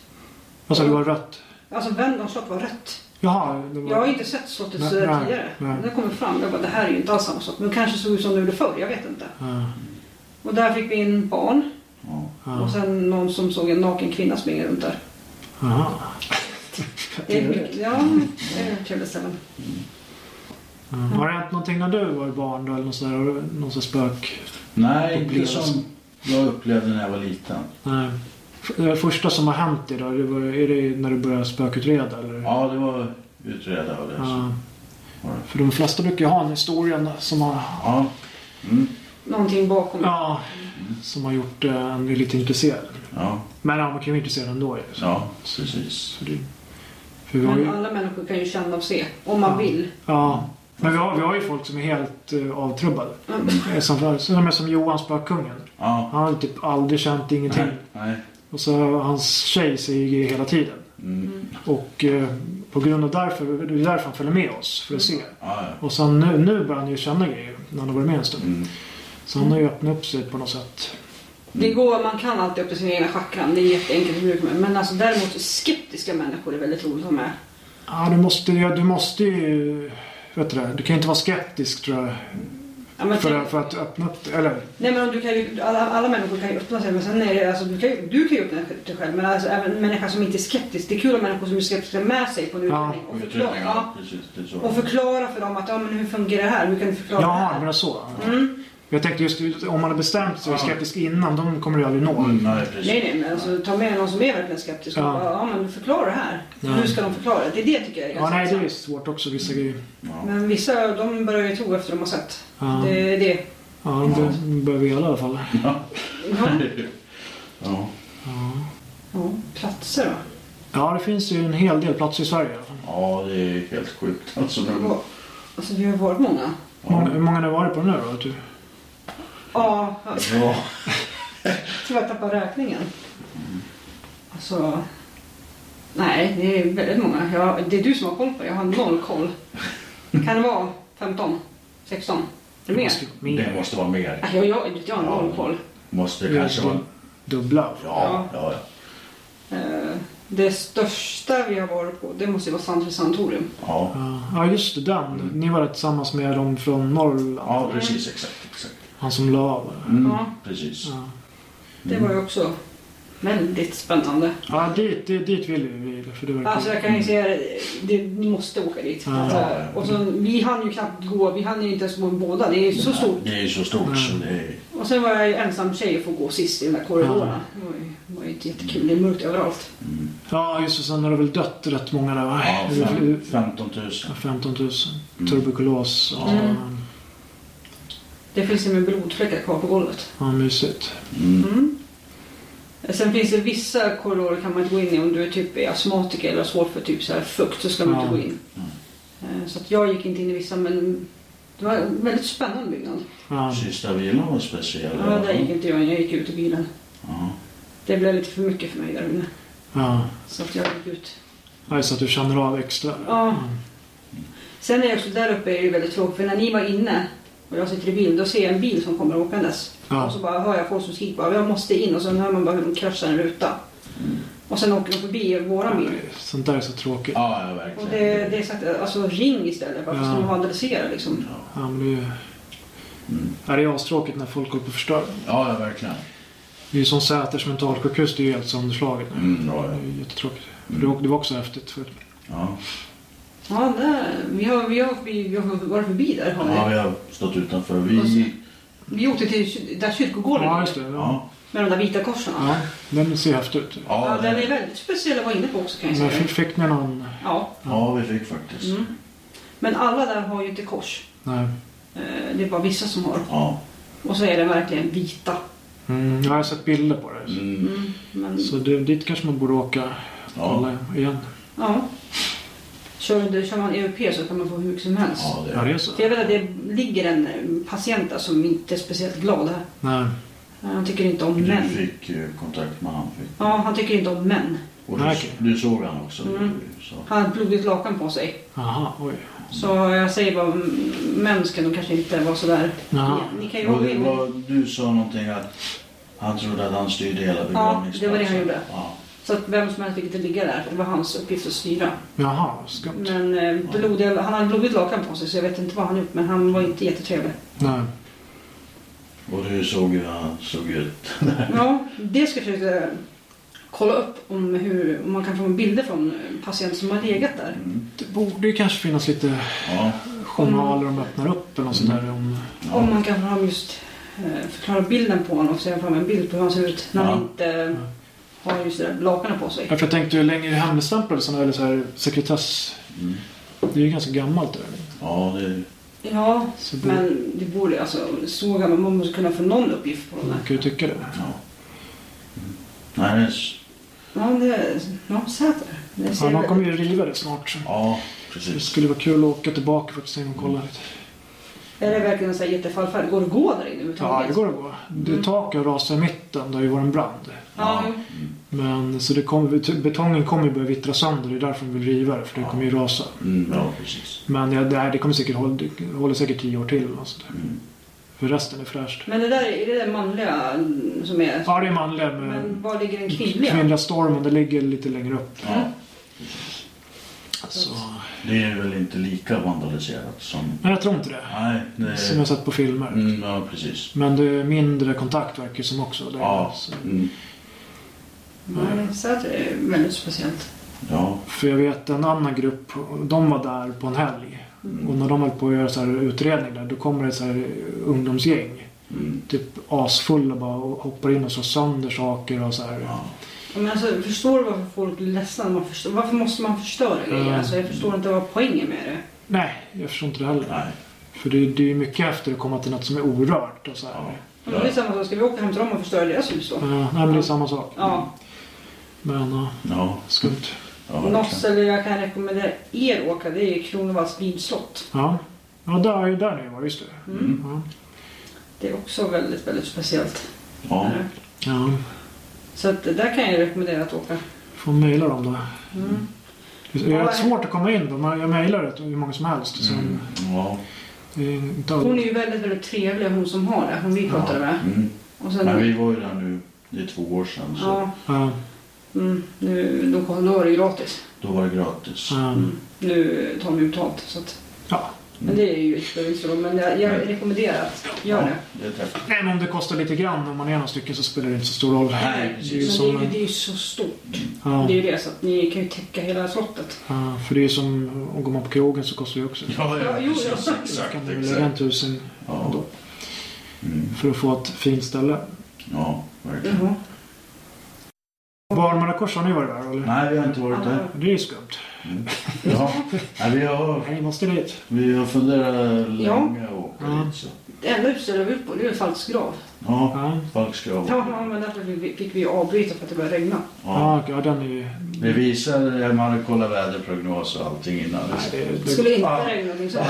Speaker 1: Alltså det var rött.
Speaker 2: Alltså Vendons slott var rött.
Speaker 1: Jaha, det var...
Speaker 2: Jag har inte sett slottet
Speaker 1: Nej,
Speaker 2: så där
Speaker 1: nej,
Speaker 2: tidigare.
Speaker 1: nej.
Speaker 2: När det kommer fram, jag bara det här är ju inte alls samma slott. Men det kanske såg ut som det gjorde förr, jag vet inte.
Speaker 1: Ja.
Speaker 2: Och där fick vi in barn.
Speaker 3: Ja.
Speaker 1: Ja.
Speaker 2: Och sen någon som såg en naken kvinna springa runt där.
Speaker 1: Jaha.
Speaker 2: Det är
Speaker 1: Trevligt.
Speaker 2: mycket, ja, det är ett trevligt ställe.
Speaker 1: Ja. Har det hänt någonting när du var barn då? Eller något sådär, någon sån spök?
Speaker 3: Nej, inte
Speaker 1: Upplevelse.
Speaker 3: som jag upplevde när jag var liten.
Speaker 1: Nej. F- Det första som har hänt dig då? Det var, är det när du började spökutreda eller?
Speaker 3: Ja, det var utreda och det. så
Speaker 1: Ja.
Speaker 3: var det.
Speaker 1: För de flesta brukar ju ha en historia som har,
Speaker 3: Ja. Mm.
Speaker 2: Någonting bakom.
Speaker 1: ja, som har gjort eh, en lite intresserad.
Speaker 3: Ja.
Speaker 1: Men ja, man kan ju vara intresserad ändå ju. Så-
Speaker 3: ja, precis.
Speaker 1: så det- För vi har
Speaker 2: Men
Speaker 1: ju,
Speaker 2: alla människor kan ju känna och se, om man
Speaker 1: Ja.
Speaker 2: vill.
Speaker 1: ja, men vi har, vi har ju folk som är helt eh, avtrubbade.
Speaker 2: Mm.
Speaker 1: Eh, Som, som, som Johan Spökungen.
Speaker 3: Ja.
Speaker 1: Han har ju typ aldrig känt ingenting.
Speaker 3: Nej. Nej.
Speaker 1: Och så hans tjej säger grejer hela tiden.
Speaker 3: Mm.
Speaker 1: Och eh, på grund av därför, det är därför han följer med oss, för att se.
Speaker 3: Ja, ja.
Speaker 1: Och sen nu, nu börjar han ju känna grejer när han har varit med en stund.
Speaker 3: Mm.
Speaker 1: Så han har ju öppnat upp sig på något sätt.
Speaker 2: Det går, man kan alltid upp till sin egna chakran, det är jätteenkelt att bruka med. Men alltså, däremot så skeptiska människor är väldigt roligt att ha med.
Speaker 1: Ja, du måste, ju- du måste ju... Vet du, det, du kan ju inte vara skeptisk tror jag.
Speaker 2: Ja, men
Speaker 1: För,
Speaker 2: tänk-
Speaker 1: för att öppna upp det. Eller?
Speaker 2: Nej men om du kan ju, alla, alla människor kan ju öppna sig men sen är det, alltså, du, kan ju, du kan ju öppna dig själv men alltså, även en människa som inte är skeptisk. Det är kul om människor som är skeptiska med sig på en
Speaker 1: Ja,
Speaker 2: utredning och, förklara,
Speaker 3: Utredningar,
Speaker 2: ja,
Speaker 3: ja. precis. Det är
Speaker 2: och
Speaker 3: så.
Speaker 2: förklara för dem att ja, men hur fungerar det här? Hur kan du förklara det
Speaker 1: Jaha,
Speaker 2: här?
Speaker 1: men det är så. Ja.
Speaker 2: Mm.
Speaker 1: Jag tänkte just om man har bestämt sig och är
Speaker 3: Ja.
Speaker 1: skeptisk innan, de kommer du aldrig nå.
Speaker 3: Mm, Nej, precis.
Speaker 2: Nej nej men alltså, ta med någon som är verkligen skeptisk och
Speaker 1: Ja.
Speaker 2: bara, ja men förklara det här.
Speaker 1: Ja.
Speaker 2: Hur ska de förklara det? Det är det tycker jag är
Speaker 1: Ja,
Speaker 2: ganska
Speaker 1: nej, det är
Speaker 2: intressant.
Speaker 1: svårt också vissa grejer.
Speaker 3: Ja.
Speaker 2: Men vissa de börjar ju tro efter de har sett.
Speaker 1: Ja,
Speaker 2: Det är det.
Speaker 1: ja de bör- börjar vela i alla fall.
Speaker 3: Ja.
Speaker 2: Ja.
Speaker 3: Ja.
Speaker 1: Ja.
Speaker 2: Ja, platser då?
Speaker 1: ja, det finns ju en hel del platser i Sverige i alla fall.
Speaker 3: ja, det är helt sjukt alltså.
Speaker 2: Det
Speaker 3: Nu.
Speaker 2: var- Alltså vi har varit många.
Speaker 1: Hur många- Hur många har ni varit på nu då? Typ?
Speaker 2: Ja,
Speaker 3: Ja.
Speaker 2: jag tror jag tappade räkningen. Alltså, nej det är väldigt många. Jag, det är du som har koll på det, jag har noll koll. Kan det vara 15, 16? Är det mer?
Speaker 3: Det måste vara mer.
Speaker 2: Nej, Jag, jag, jag har noll koll.
Speaker 3: Måste
Speaker 1: Det
Speaker 3: kanske vara...
Speaker 1: Dubbla.
Speaker 3: Ja, ja, ja.
Speaker 2: Eh, Det största vi har varit på, det måste ju vara Sandfrid Sanatorium.
Speaker 3: ja.
Speaker 1: Ja, just det. Den. Ni var där tillsammans med dem från Norrland.
Speaker 3: Ja, precis. Exakt. exakt.
Speaker 1: Han som la av.
Speaker 3: Mm,
Speaker 2: Ja.
Speaker 3: Precis.
Speaker 1: Ja.
Speaker 2: Det var ju också väldigt spännande.
Speaker 1: Ja, dit, dit, dit vill vi. För det verkar...
Speaker 2: Alltså jag kan ju säga det, det- ni måste åka dit.
Speaker 1: Ja.
Speaker 2: Alltså, och så, vi hann ju knappt gå, vi hann ju inte ens gå en båda. Det är ju så stort.
Speaker 3: Det är så stort så det är...
Speaker 2: Och sen var jag ju ensam tjej och få gå sist i de där korridorerna. Det var ju, det var ju inte jättekul, det är mörkt överallt.
Speaker 1: Ja, just det. Sen har det väl dött rätt många där, va?
Speaker 3: Mm. Ja,
Speaker 1: Det är väl-
Speaker 3: fem- 15 000.
Speaker 1: 15 000.
Speaker 3: Mm.
Speaker 1: Tuberkulos. och-
Speaker 2: Mm. Det finns ju med blodfläckar kvar på golvet.
Speaker 1: Ja, mysigt.
Speaker 3: Mm.
Speaker 2: Mm. Eh, Sen finns det vissa korridorer kan man inte gå in i om du är typ är astmatiker eller har svårt för typ så här fukt så ska man inte
Speaker 1: Ja.
Speaker 2: gå in. Eh, Så att jag gick inte in i vissa men det var en väldigt spännande byggnad.
Speaker 1: Ja.
Speaker 3: Mm. Sista vilan var speciell. i
Speaker 2: Ja,
Speaker 3: alla
Speaker 2: där
Speaker 3: fall.
Speaker 2: gick inte jag in, jag gick ut i bilen.
Speaker 3: Ja.
Speaker 2: Det blev lite för mycket för mig där inne.
Speaker 1: Ja.
Speaker 2: Så att jag gick ut.
Speaker 1: Ja, så att du känner av extra.
Speaker 2: Ja.
Speaker 1: Mm.
Speaker 2: Sen är jag också där uppe är det väldigt tråkigt för när ni var inne och jag sitter i bilen då ser jag en bil som kommer åkandes. Och
Speaker 1: Ja.
Speaker 2: så bara hör jag folk som skriker bara, jag måste in och sen hör man bara hur de kraschar en ruta. Och sen åker de förbi våran bil.
Speaker 1: Sånt där är så tråkigt.
Speaker 3: ja, ja,
Speaker 2: Och
Speaker 3: verkligen.
Speaker 2: det, det är sagt, alltså ring istället. Varför ska
Speaker 1: Ja.
Speaker 2: de ha adresserat liksom?
Speaker 1: Ja,
Speaker 3: Ja.
Speaker 1: men det är ju...
Speaker 3: Mm.
Speaker 1: Ja, det är astråkigt när folk håller på och förstör.
Speaker 3: Ja, ja, verkligen.
Speaker 1: Det är ju som Säters mentalsjukhus, det är ju helt sönderslaget nu.
Speaker 3: Mm, ja,
Speaker 1: Det
Speaker 3: ja.
Speaker 1: är ju jättetråkigt.
Speaker 3: Mm.
Speaker 1: För Det, var- det var också häftigt förut.
Speaker 3: Ja.
Speaker 2: Ja, där. Vi har, vi har, vi, vi har varit förbi där har vi.
Speaker 3: ja, vi har stått utanför.
Speaker 2: Och
Speaker 3: Vi...
Speaker 2: sen- Vi åkte till ky- där kyrkogården
Speaker 1: Ja,
Speaker 2: ja,
Speaker 1: just det. Ja.
Speaker 3: Ja,
Speaker 2: med de där vita korsen. Ja.
Speaker 1: ja, den ser häftig ut.
Speaker 3: ja,
Speaker 2: den är
Speaker 3: det...
Speaker 2: väldigt speciell att vara inne på också kan jag
Speaker 1: Men
Speaker 2: säga.
Speaker 1: fick, fick ni någon...
Speaker 2: Ja.
Speaker 3: ja, vi fick faktiskt.
Speaker 2: Mm. Men alla där har ju inte kors.
Speaker 1: Nej.
Speaker 2: Eh, Det är bara vissa som har.
Speaker 3: Ja.
Speaker 2: Och så är det verkligen vita.
Speaker 1: Mm, jag har sett bilder på det.
Speaker 3: Mm.
Speaker 2: Mm. Men,
Speaker 1: Så det, dit kanske man borde åka och
Speaker 3: Ja.
Speaker 1: kolla igen.
Speaker 2: ja. Kör, du- kör man europe så kan man få hur mycket som helst.
Speaker 3: ja,
Speaker 1: Ja,
Speaker 3: det...
Speaker 1: det är så.
Speaker 2: För jag vet att det ligger en eh, patient där som inte är speciellt glad här.
Speaker 1: Nej.
Speaker 2: Eh, Han tycker inte om
Speaker 3: Du
Speaker 2: män.
Speaker 3: fick eh, kontakt med han. Fick.
Speaker 2: Ja, han tycker inte om män.
Speaker 3: Och du,
Speaker 1: Nej, okej.
Speaker 3: du såg han också.
Speaker 2: Mm.
Speaker 3: Så.
Speaker 2: Han har ett blodigt lakan på sig.
Speaker 1: Aha, oj.
Speaker 2: Så jag säger bara, m- män ska nog kanske inte vara sådär.
Speaker 1: Jaha.
Speaker 2: Ni, ni kan ju
Speaker 3: Och
Speaker 2: vara
Speaker 3: det
Speaker 2: med. men-
Speaker 3: var, du sa någonting att han trodde att han styrde hela begravningsplatsen.
Speaker 2: det var det han gjorde.
Speaker 3: Ja.
Speaker 2: Så att vem som helst fick inte ligga där. Det var hans uppgift att styra.
Speaker 1: Jaha, skumt.
Speaker 2: Men eh, blodiga, han hade blodigt lakan på sig så jag vet inte vad han gjort. Men han var inte jättetrevlig.
Speaker 1: Nej.
Speaker 3: Och du såg hur han såg ut.
Speaker 2: Ja, det ska jag försöka kolla upp om, hur, om man kan få bilder från patienter som har legat där.
Speaker 3: Mm.
Speaker 1: Det borde ju kanske finnas lite
Speaker 3: Ja.
Speaker 1: journaler de öppnar upp eller något sånt
Speaker 3: Mm.
Speaker 1: där. Om,
Speaker 3: Ja.
Speaker 2: Om man kan få fram just eh, förklara bilden på honom och se fram en bild på hur han ser ut när han
Speaker 3: Ja.
Speaker 2: inte eh, har just det där lakanet på sig.
Speaker 1: Ja, för jag tänkte ju längre hemligstämplade sådana eller så här sekretess.
Speaker 3: Mm.
Speaker 1: Det är ju ganska gammalt det där.
Speaker 3: ja, det...
Speaker 2: Ja,
Speaker 1: Så det,
Speaker 2: men det borde alltså, så gammal, man måste kunna få någon uppgift på dem
Speaker 1: man
Speaker 2: där.
Speaker 1: kan ju tycka det.
Speaker 3: Ja. Mm. Nej, det är... s-
Speaker 2: Ja, det, ja Säter. Det
Speaker 1: Ja,
Speaker 2: ser
Speaker 1: man kommer
Speaker 2: väldigt-
Speaker 1: ju riva det snart. Så.
Speaker 3: Ja,
Speaker 1: Det
Speaker 3: precis.
Speaker 1: skulle vara kul att åka tillbaka faktiskt en gång och kolla lite.
Speaker 2: är det verkligen så här jättefallfärdigt? Går det att gå där inne
Speaker 1: Ja,
Speaker 2: överhuvudtaget?
Speaker 1: det går att gå. Det
Speaker 2: Mm.
Speaker 1: taket rasade i mitten, där det var en brand.
Speaker 2: Ja, jo.
Speaker 3: Mm.
Speaker 1: Men så det kommer- betongen kommer ju börja vittra sönder. Det är därför de vill riva det, för det
Speaker 3: Ja.
Speaker 1: kommer ju rasa.
Speaker 3: Mm, ja, precis.
Speaker 1: Men ja, det, här, det kommer säkert hålla, det håller säkert tio år till. eller något sånt där.
Speaker 3: Mm.
Speaker 1: För resten är fräscht.
Speaker 2: Men det där är det där manliga mm, som är...
Speaker 1: Ja, det är manliga med
Speaker 2: Men var ligger den kvinnliga?
Speaker 1: kvinnliga stormen. Det ligger lite längre upp.
Speaker 3: Ja.
Speaker 1: Så.
Speaker 3: Det är väl inte lika vandaliserat som...
Speaker 1: Men jag tror inte det.
Speaker 3: Nej, det...
Speaker 1: Som jag sett på filmer.
Speaker 3: Mm, ja, precis.
Speaker 1: Men det är mindre kontakt verkar det som också. Där.
Speaker 3: Ja.
Speaker 1: Så,
Speaker 3: Mm.
Speaker 2: Nej, Säter är väldigt speciellt.
Speaker 3: Ja.
Speaker 1: för jag vet en annan grupp, de var där på en helg. Och när de höll på att göra så här utredning där, då kommer det så här ungdomsgäng.
Speaker 3: Mm.
Speaker 1: Typ asfulla bara och hoppar in och slår sönder saker och så här.
Speaker 3: Ja.
Speaker 2: Ja, Men alltså, jag förstår varför folk blir ledsna. när Man förstör, varför måste man förstöra grejer?
Speaker 1: Mm.
Speaker 2: Alltså, jag förstår inte vad poängen med det
Speaker 1: Nej, jag förstår inte det heller.
Speaker 3: Nej.
Speaker 1: För det, det är ju mycket efter att komma till något som är orört och så
Speaker 3: Ja.
Speaker 1: här.
Speaker 2: Men Det är samma sak, ska vi åka hem till dem och förstöra deras hus då?
Speaker 1: Eh, nej, men det är samma sak.
Speaker 2: Ja,
Speaker 1: Men ja,
Speaker 3: Ja.
Speaker 1: skumt.
Speaker 3: ja
Speaker 2: något
Speaker 3: verkligen.
Speaker 2: ställe jag kan rekommendera er att åka det är Kronovalls vinslott.
Speaker 1: Ja, ja där, där ni var, just det.
Speaker 2: Mm.
Speaker 1: Ja.
Speaker 2: Det är också väldigt, väldigt speciellt.
Speaker 3: Ja.
Speaker 2: Eh,
Speaker 1: ja,
Speaker 2: Så att, det där kan jag rekommendera att åka.
Speaker 1: får mejla dem då.
Speaker 2: Mm.
Speaker 1: Det är
Speaker 2: Ja,
Speaker 1: rätt
Speaker 2: ja.
Speaker 1: svårt att komma in då. Man- Jag mejlar rätt hur många som helst. Så
Speaker 3: Mm. Ja.
Speaker 1: det är inte
Speaker 2: Hon är
Speaker 1: alla.
Speaker 2: ju väldigt, väldigt trevlig hon som har det, hon vi pratade med.
Speaker 3: Mm.
Speaker 2: Och
Speaker 3: Men
Speaker 2: sen,
Speaker 3: vi var ju där nu, det är två år sedan, så
Speaker 2: ja,
Speaker 1: Ja,
Speaker 2: mm, nu, då, kom- då var det ju gratis.
Speaker 3: då var det gratis. Mm.
Speaker 1: ja.
Speaker 2: Nu tar de ju betalt. Så att,
Speaker 1: Ja.
Speaker 2: Men det är ju inte men jag, jag rekommenderar att göra det.
Speaker 3: Ja, det är träff.
Speaker 1: Nej, men om det kostar lite grann om man är några stycken så spelar det inte så stor roll.
Speaker 3: Nej,
Speaker 1: Det är ju
Speaker 3: precis.
Speaker 2: Men
Speaker 1: som,
Speaker 2: det är ju, det
Speaker 1: en-
Speaker 2: är ju så stort.
Speaker 1: ja,
Speaker 2: Det är ju det, så att ni kan ju täcka hela slottet.
Speaker 1: ja, för det är ju som, om går man på krogen så kostar det ju också.
Speaker 3: Ja, ja,
Speaker 2: Ja, jo,
Speaker 3: precis.
Speaker 2: ja.
Speaker 1: Så
Speaker 3: Exakt,
Speaker 1: kan man lägga
Speaker 3: exakt.
Speaker 1: en tusen
Speaker 3: Ja.
Speaker 1: ändå
Speaker 3: Mm.
Speaker 1: för att få ett fint ställe.
Speaker 3: ja, verkligen.
Speaker 2: Jaha.
Speaker 1: Barmarna kors har ni varit där eller?
Speaker 2: Mm.
Speaker 3: Nej, vi har inte varit där.
Speaker 2: Alla-
Speaker 1: Det är ju skumt.
Speaker 3: Ja, ja vi, har,
Speaker 1: Nej, ni måste dit.
Speaker 3: vi har funderat länge och åka
Speaker 1: Ja.
Speaker 3: dit. Så.
Speaker 2: Det enda huset jag vill på det är Falks grav.
Speaker 3: Ja,
Speaker 1: Ja,
Speaker 3: Falkskov.
Speaker 2: Ja, ja, men därför vi- vi- fick vi avbryta för att det började regna.
Speaker 3: Ja.
Speaker 1: Ah, ja. ja den är ju...
Speaker 3: Det visar, man hade kollat väderprognos och allting innan.
Speaker 1: Nej, det,
Speaker 2: Det skulle
Speaker 1: det,
Speaker 2: inte
Speaker 3: Ja.
Speaker 2: regna. Liksom.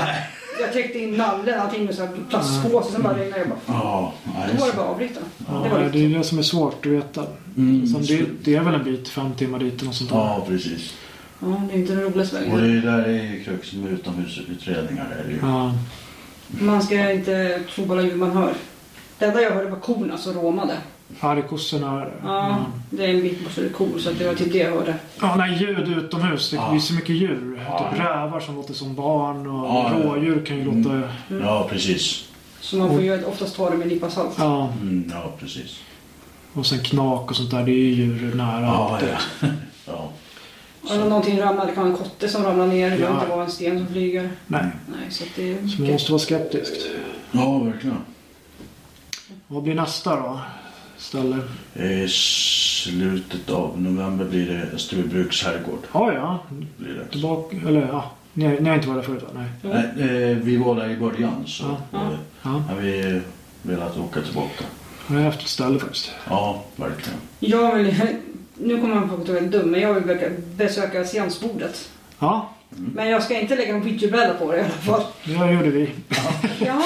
Speaker 2: Jag täckte in nallen allting med så här plastpåse, sen bara regnade jag bara.
Speaker 3: Ja,
Speaker 2: Då var det bara att avbryta. Det var
Speaker 1: ja, det
Speaker 2: riktigt.
Speaker 1: är det som är svårt att veta.
Speaker 3: Mm,
Speaker 1: Sen det,
Speaker 3: slut.
Speaker 1: det är väl en bit, fem timmar dit och något sånt där.
Speaker 3: Ja, precis.
Speaker 2: Ja, det är inte den roligaste
Speaker 3: Och
Speaker 2: vägen.
Speaker 3: det där är ju kruxen med utomhusutredningar. Är det ju.
Speaker 1: Ja.
Speaker 2: Man ska inte tro på alla ljud man hör. Det enda jag hörde var korna som råmade.
Speaker 1: Ja, det är kossorna.
Speaker 2: Ja, det är en bit bort så det är kor, så att det var typ det jag hörde.
Speaker 1: Ja, nej, ljud utomhus. Det
Speaker 3: Ja.
Speaker 1: är så mycket djur.
Speaker 3: Ja.
Speaker 1: Typ rävar som låter som barn och
Speaker 3: Ja, Mm. ja.
Speaker 1: rådjur kan ju låta...
Speaker 3: Ja, precis.
Speaker 2: Så man får ju oftast ta det med en nypa salt.
Speaker 1: Ja,
Speaker 3: Mm, ja, precis.
Speaker 1: och sen knak och sånt där. Det är ju djur nära.
Speaker 3: Ja,
Speaker 1: allt det.
Speaker 3: ja. ja.
Speaker 2: Om någonting ramlar, det kan vara en kotte som ramlar ner, det kan
Speaker 1: Ja.
Speaker 2: inte vara en sten som flyger.
Speaker 1: Nej,
Speaker 2: Nej, så att det är
Speaker 1: Mm. så man
Speaker 2: mycket.
Speaker 1: måste vara skeptisk.
Speaker 3: ja verkligen.
Speaker 1: Vad blir nästa då? Ställe?
Speaker 3: I slutet av november blir det Sturebruks herrgård.
Speaker 1: Ja, ja.
Speaker 3: Blir det.
Speaker 1: Tillbaka... Eller ja. Ni, ni har inte varit där förut va? Nej.
Speaker 3: Nej, eh, vi var där i början så
Speaker 1: Ja.
Speaker 3: eh,
Speaker 1: Ja.
Speaker 3: har vi velat åka tillbaka.
Speaker 1: Det är ett häftigt ställe faktiskt.
Speaker 3: Ja, verkligen.
Speaker 2: Jag vill, nu kommer man på att jag är dum, men jag vill besöka- besöka seansbordet.
Speaker 1: Ja,
Speaker 2: Men jag ska inte lägga en widgetbräda på det i alla fall.
Speaker 1: det gjorde vi.
Speaker 2: Ja,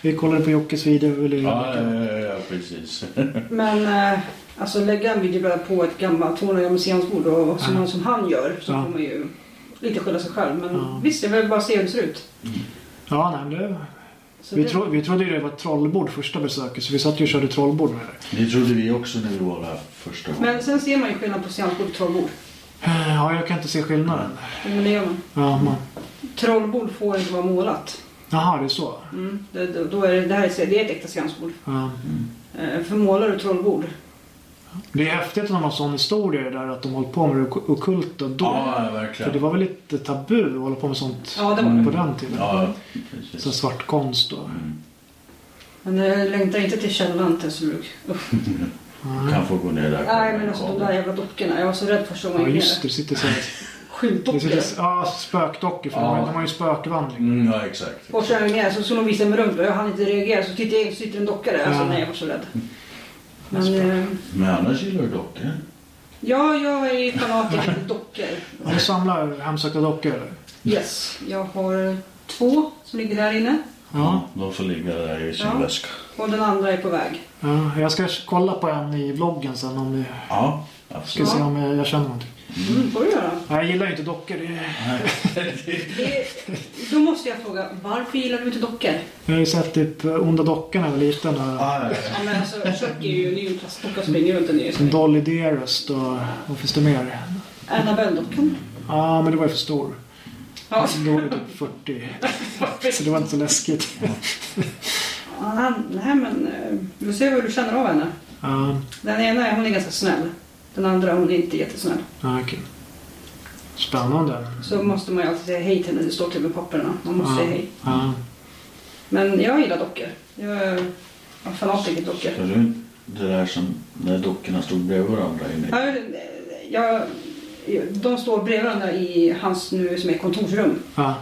Speaker 1: Vi kollade på Jockes video. Ville...
Speaker 3: Ja, ja, ja, precis.
Speaker 2: men eh, alltså lägga en widgetbräda på ett gammalt 200 gammalt seansbord och som,
Speaker 1: Ja.
Speaker 2: någon som han gör så
Speaker 1: Ja.
Speaker 2: får man ju lite skylla sig själv. Men
Speaker 1: Ja.
Speaker 2: visst, jag vill bara se hur det ser ut.
Speaker 1: ja nej, men det...
Speaker 2: Så
Speaker 1: Vi,
Speaker 2: det-
Speaker 1: tro... vi trodde ju det var ett trollbord första besöket så vi satt ju och körde trollbord med det.
Speaker 3: Det trodde vi också när vi var där första gången.
Speaker 2: Men sen ser man ju skillnad på seansbord och trollbord.
Speaker 1: Ja, jag kan inte se skillnaden.
Speaker 2: Men det gör man.
Speaker 1: Ja, man...
Speaker 2: Trollbord får inte vara målat.
Speaker 1: Jaha, det är så.
Speaker 2: Mm. Det, då- då är det, det, här är, det är ett äkta seansbord.
Speaker 1: Ja.
Speaker 3: Mm.
Speaker 2: Eh, för målar du trollbord
Speaker 1: Det är häftigt att de har sån historia där att de hållit på med det ok- ockulta då.
Speaker 3: Ja, ja,
Speaker 1: För det
Speaker 3: verkligen.
Speaker 1: var väl lite tabu att hålla på med sånt
Speaker 2: Ja, det var det.
Speaker 1: på den tiden.
Speaker 3: Ja,
Speaker 1: Så
Speaker 3: precis. Mm.
Speaker 1: svart konst då.
Speaker 2: Men jag längtar inte till källaren till Österbruk. Usch.
Speaker 3: Kan få gå ner där.
Speaker 2: Nej men alltså de där jävla dockorna. Jag var så rädd första gången
Speaker 1: Ja,
Speaker 2: jag gick
Speaker 1: just det.
Speaker 2: ner.
Speaker 1: Det sitter så här- det
Speaker 2: Skyltdockor.
Speaker 1: sitter, ja, spökdockor. För
Speaker 3: Ja.
Speaker 1: de har- de har ju spökvandring.
Speaker 3: Mm, ja, exakt.
Speaker 2: Första gången jag gick ner så skulle de visa mig runt och jag hann inte reagera. Så tittade jag in så sitter en docka där. Alltså
Speaker 1: Ja. Mm.
Speaker 2: nej jag var så rädd. Men eh,
Speaker 3: Men annars gillar du dockor.
Speaker 2: ja, jag är fanatiker till dockor.
Speaker 1: Har du samlar hemsökta dockor eller?
Speaker 2: Yes. Jag har två som ligger där inne.
Speaker 1: Ja.
Speaker 3: De får ligga där i sin
Speaker 2: Ja.
Speaker 3: väska.
Speaker 2: Och den andra är på väg.
Speaker 1: ja. Jag ska kolla på en i vloggen sen om vi
Speaker 3: Ja,
Speaker 1: ska
Speaker 3: absolut.
Speaker 1: se om jag, jag känner någonting.
Speaker 2: Mm, får du göra.
Speaker 1: Nej, jag gillar ju inte dockor. Det är...
Speaker 2: Det, då måste jag fråga, varför gillar du inte dockor?
Speaker 1: Jag har ju sett typ Onda Dockan när jag var liten. Och
Speaker 3: Ja, ja, ja.
Speaker 2: Ja, men alltså, Chuck är ju en ny plastdocka som springer runt där nere. så-
Speaker 1: Dolly Dearest och vad finns det mer?
Speaker 2: Annabelle-dockan.
Speaker 1: Ja, men det var ju för stor.
Speaker 2: Ja,
Speaker 1: Då var vi typ 40. Så det var inte så läskigt.
Speaker 2: Ah, nej men eh, vi får se hur du känner av henne.
Speaker 1: Ja,
Speaker 2: Den ena är- hon är ganska snäll. Den andra hon är inte jättesnäll.
Speaker 1: ja, okej. Spännande.
Speaker 2: Så måste man ju alltid säga hej till henne. Det står till med papperna. Man måste
Speaker 1: Ja,
Speaker 2: säga hej.
Speaker 1: ja.
Speaker 2: Men jag gillar dockor. Jag är en fanatiker dockor.
Speaker 3: Ska du det där som när dockorna stod bredvid varandra inne?
Speaker 2: Jag, jag, de står bredvid varandra i hans nu som är kontorsrum.
Speaker 1: Ja,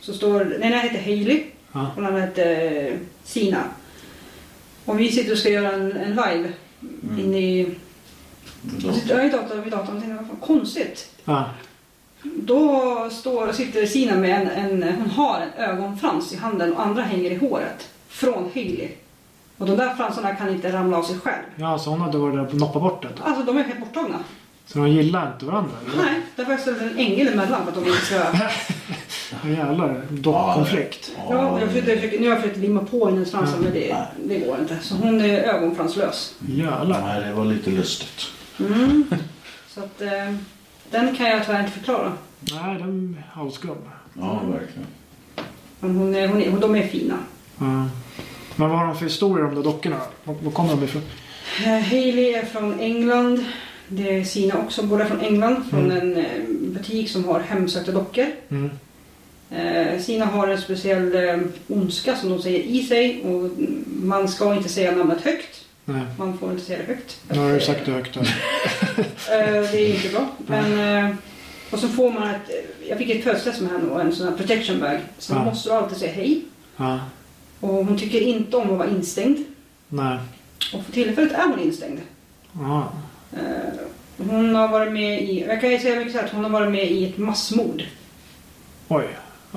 Speaker 2: Så står, den ena heter Hailey
Speaker 1: ja.
Speaker 2: och den andra heter eh, Sina. Och vi sitter och ska göra en, en live
Speaker 3: Mm.
Speaker 2: inne i...
Speaker 3: Då-
Speaker 2: Jag är i datorn, vid datorn och tänkte, vad fan, konstigt.
Speaker 1: ja.
Speaker 2: Då står, sitter Sina med en, en, hon har en ögonfrans i handen och andra hänger i håret. Från Hailey. Och de där fransarna kan inte ramla av sig själv.
Speaker 1: ja så hon hade varit där och noppat bort det.
Speaker 2: Alltså de är helt borttagna.
Speaker 1: Så de gillar inte varandra? eller?
Speaker 2: Nej, därför har jag ställt en ängel emellan för att de inte ska...
Speaker 1: Ja, jävlar. Dockkonflikt.
Speaker 2: Ja, och jag försökte, jag försökte, nu har jag försökt limma på hennes fransar men det, det går inte. Så hon är ögonfranslös.
Speaker 1: Jävlar.
Speaker 3: Nej, det var lite lustigt.
Speaker 2: Mm. Så att eh, den kan jag tyvärr inte förklara.
Speaker 1: Nej, den är halvskum.
Speaker 3: Ja, verkligen.
Speaker 2: Men hon är, hon är, hon, de är fina.
Speaker 1: Ja. Men vad har de för historier om de där dockorna? Var var kommer de ifrån?
Speaker 2: Eh, Hailey är från England. Det är Sina också, båda från England. Från en eh, butik som har hemsökta dockor.
Speaker 1: Mm.
Speaker 2: Eh, Sina har en speciell eh, ondska som de säger i sig. Och mm, man ska inte säga namnet högt.
Speaker 1: Nej,
Speaker 2: Man får inte säga det högt.
Speaker 1: nu har du sagt det högt. här.
Speaker 2: Eh, det är inte bra. Men eh, Och så får man ett, eh, jag fick ett födelsedags med henne och en sån här protection bag. Så man
Speaker 1: Ja.
Speaker 2: måste alltid säga hej.
Speaker 1: Ja.
Speaker 2: Och hon tycker inte om att vara instängd.
Speaker 1: Nej.
Speaker 2: Och för tillfället är hon instängd.
Speaker 1: Ja.
Speaker 2: Eh, Hon har varit med i, jag kan ju säga mycket så här, att hon har varit med i ett massmord.
Speaker 1: Oj.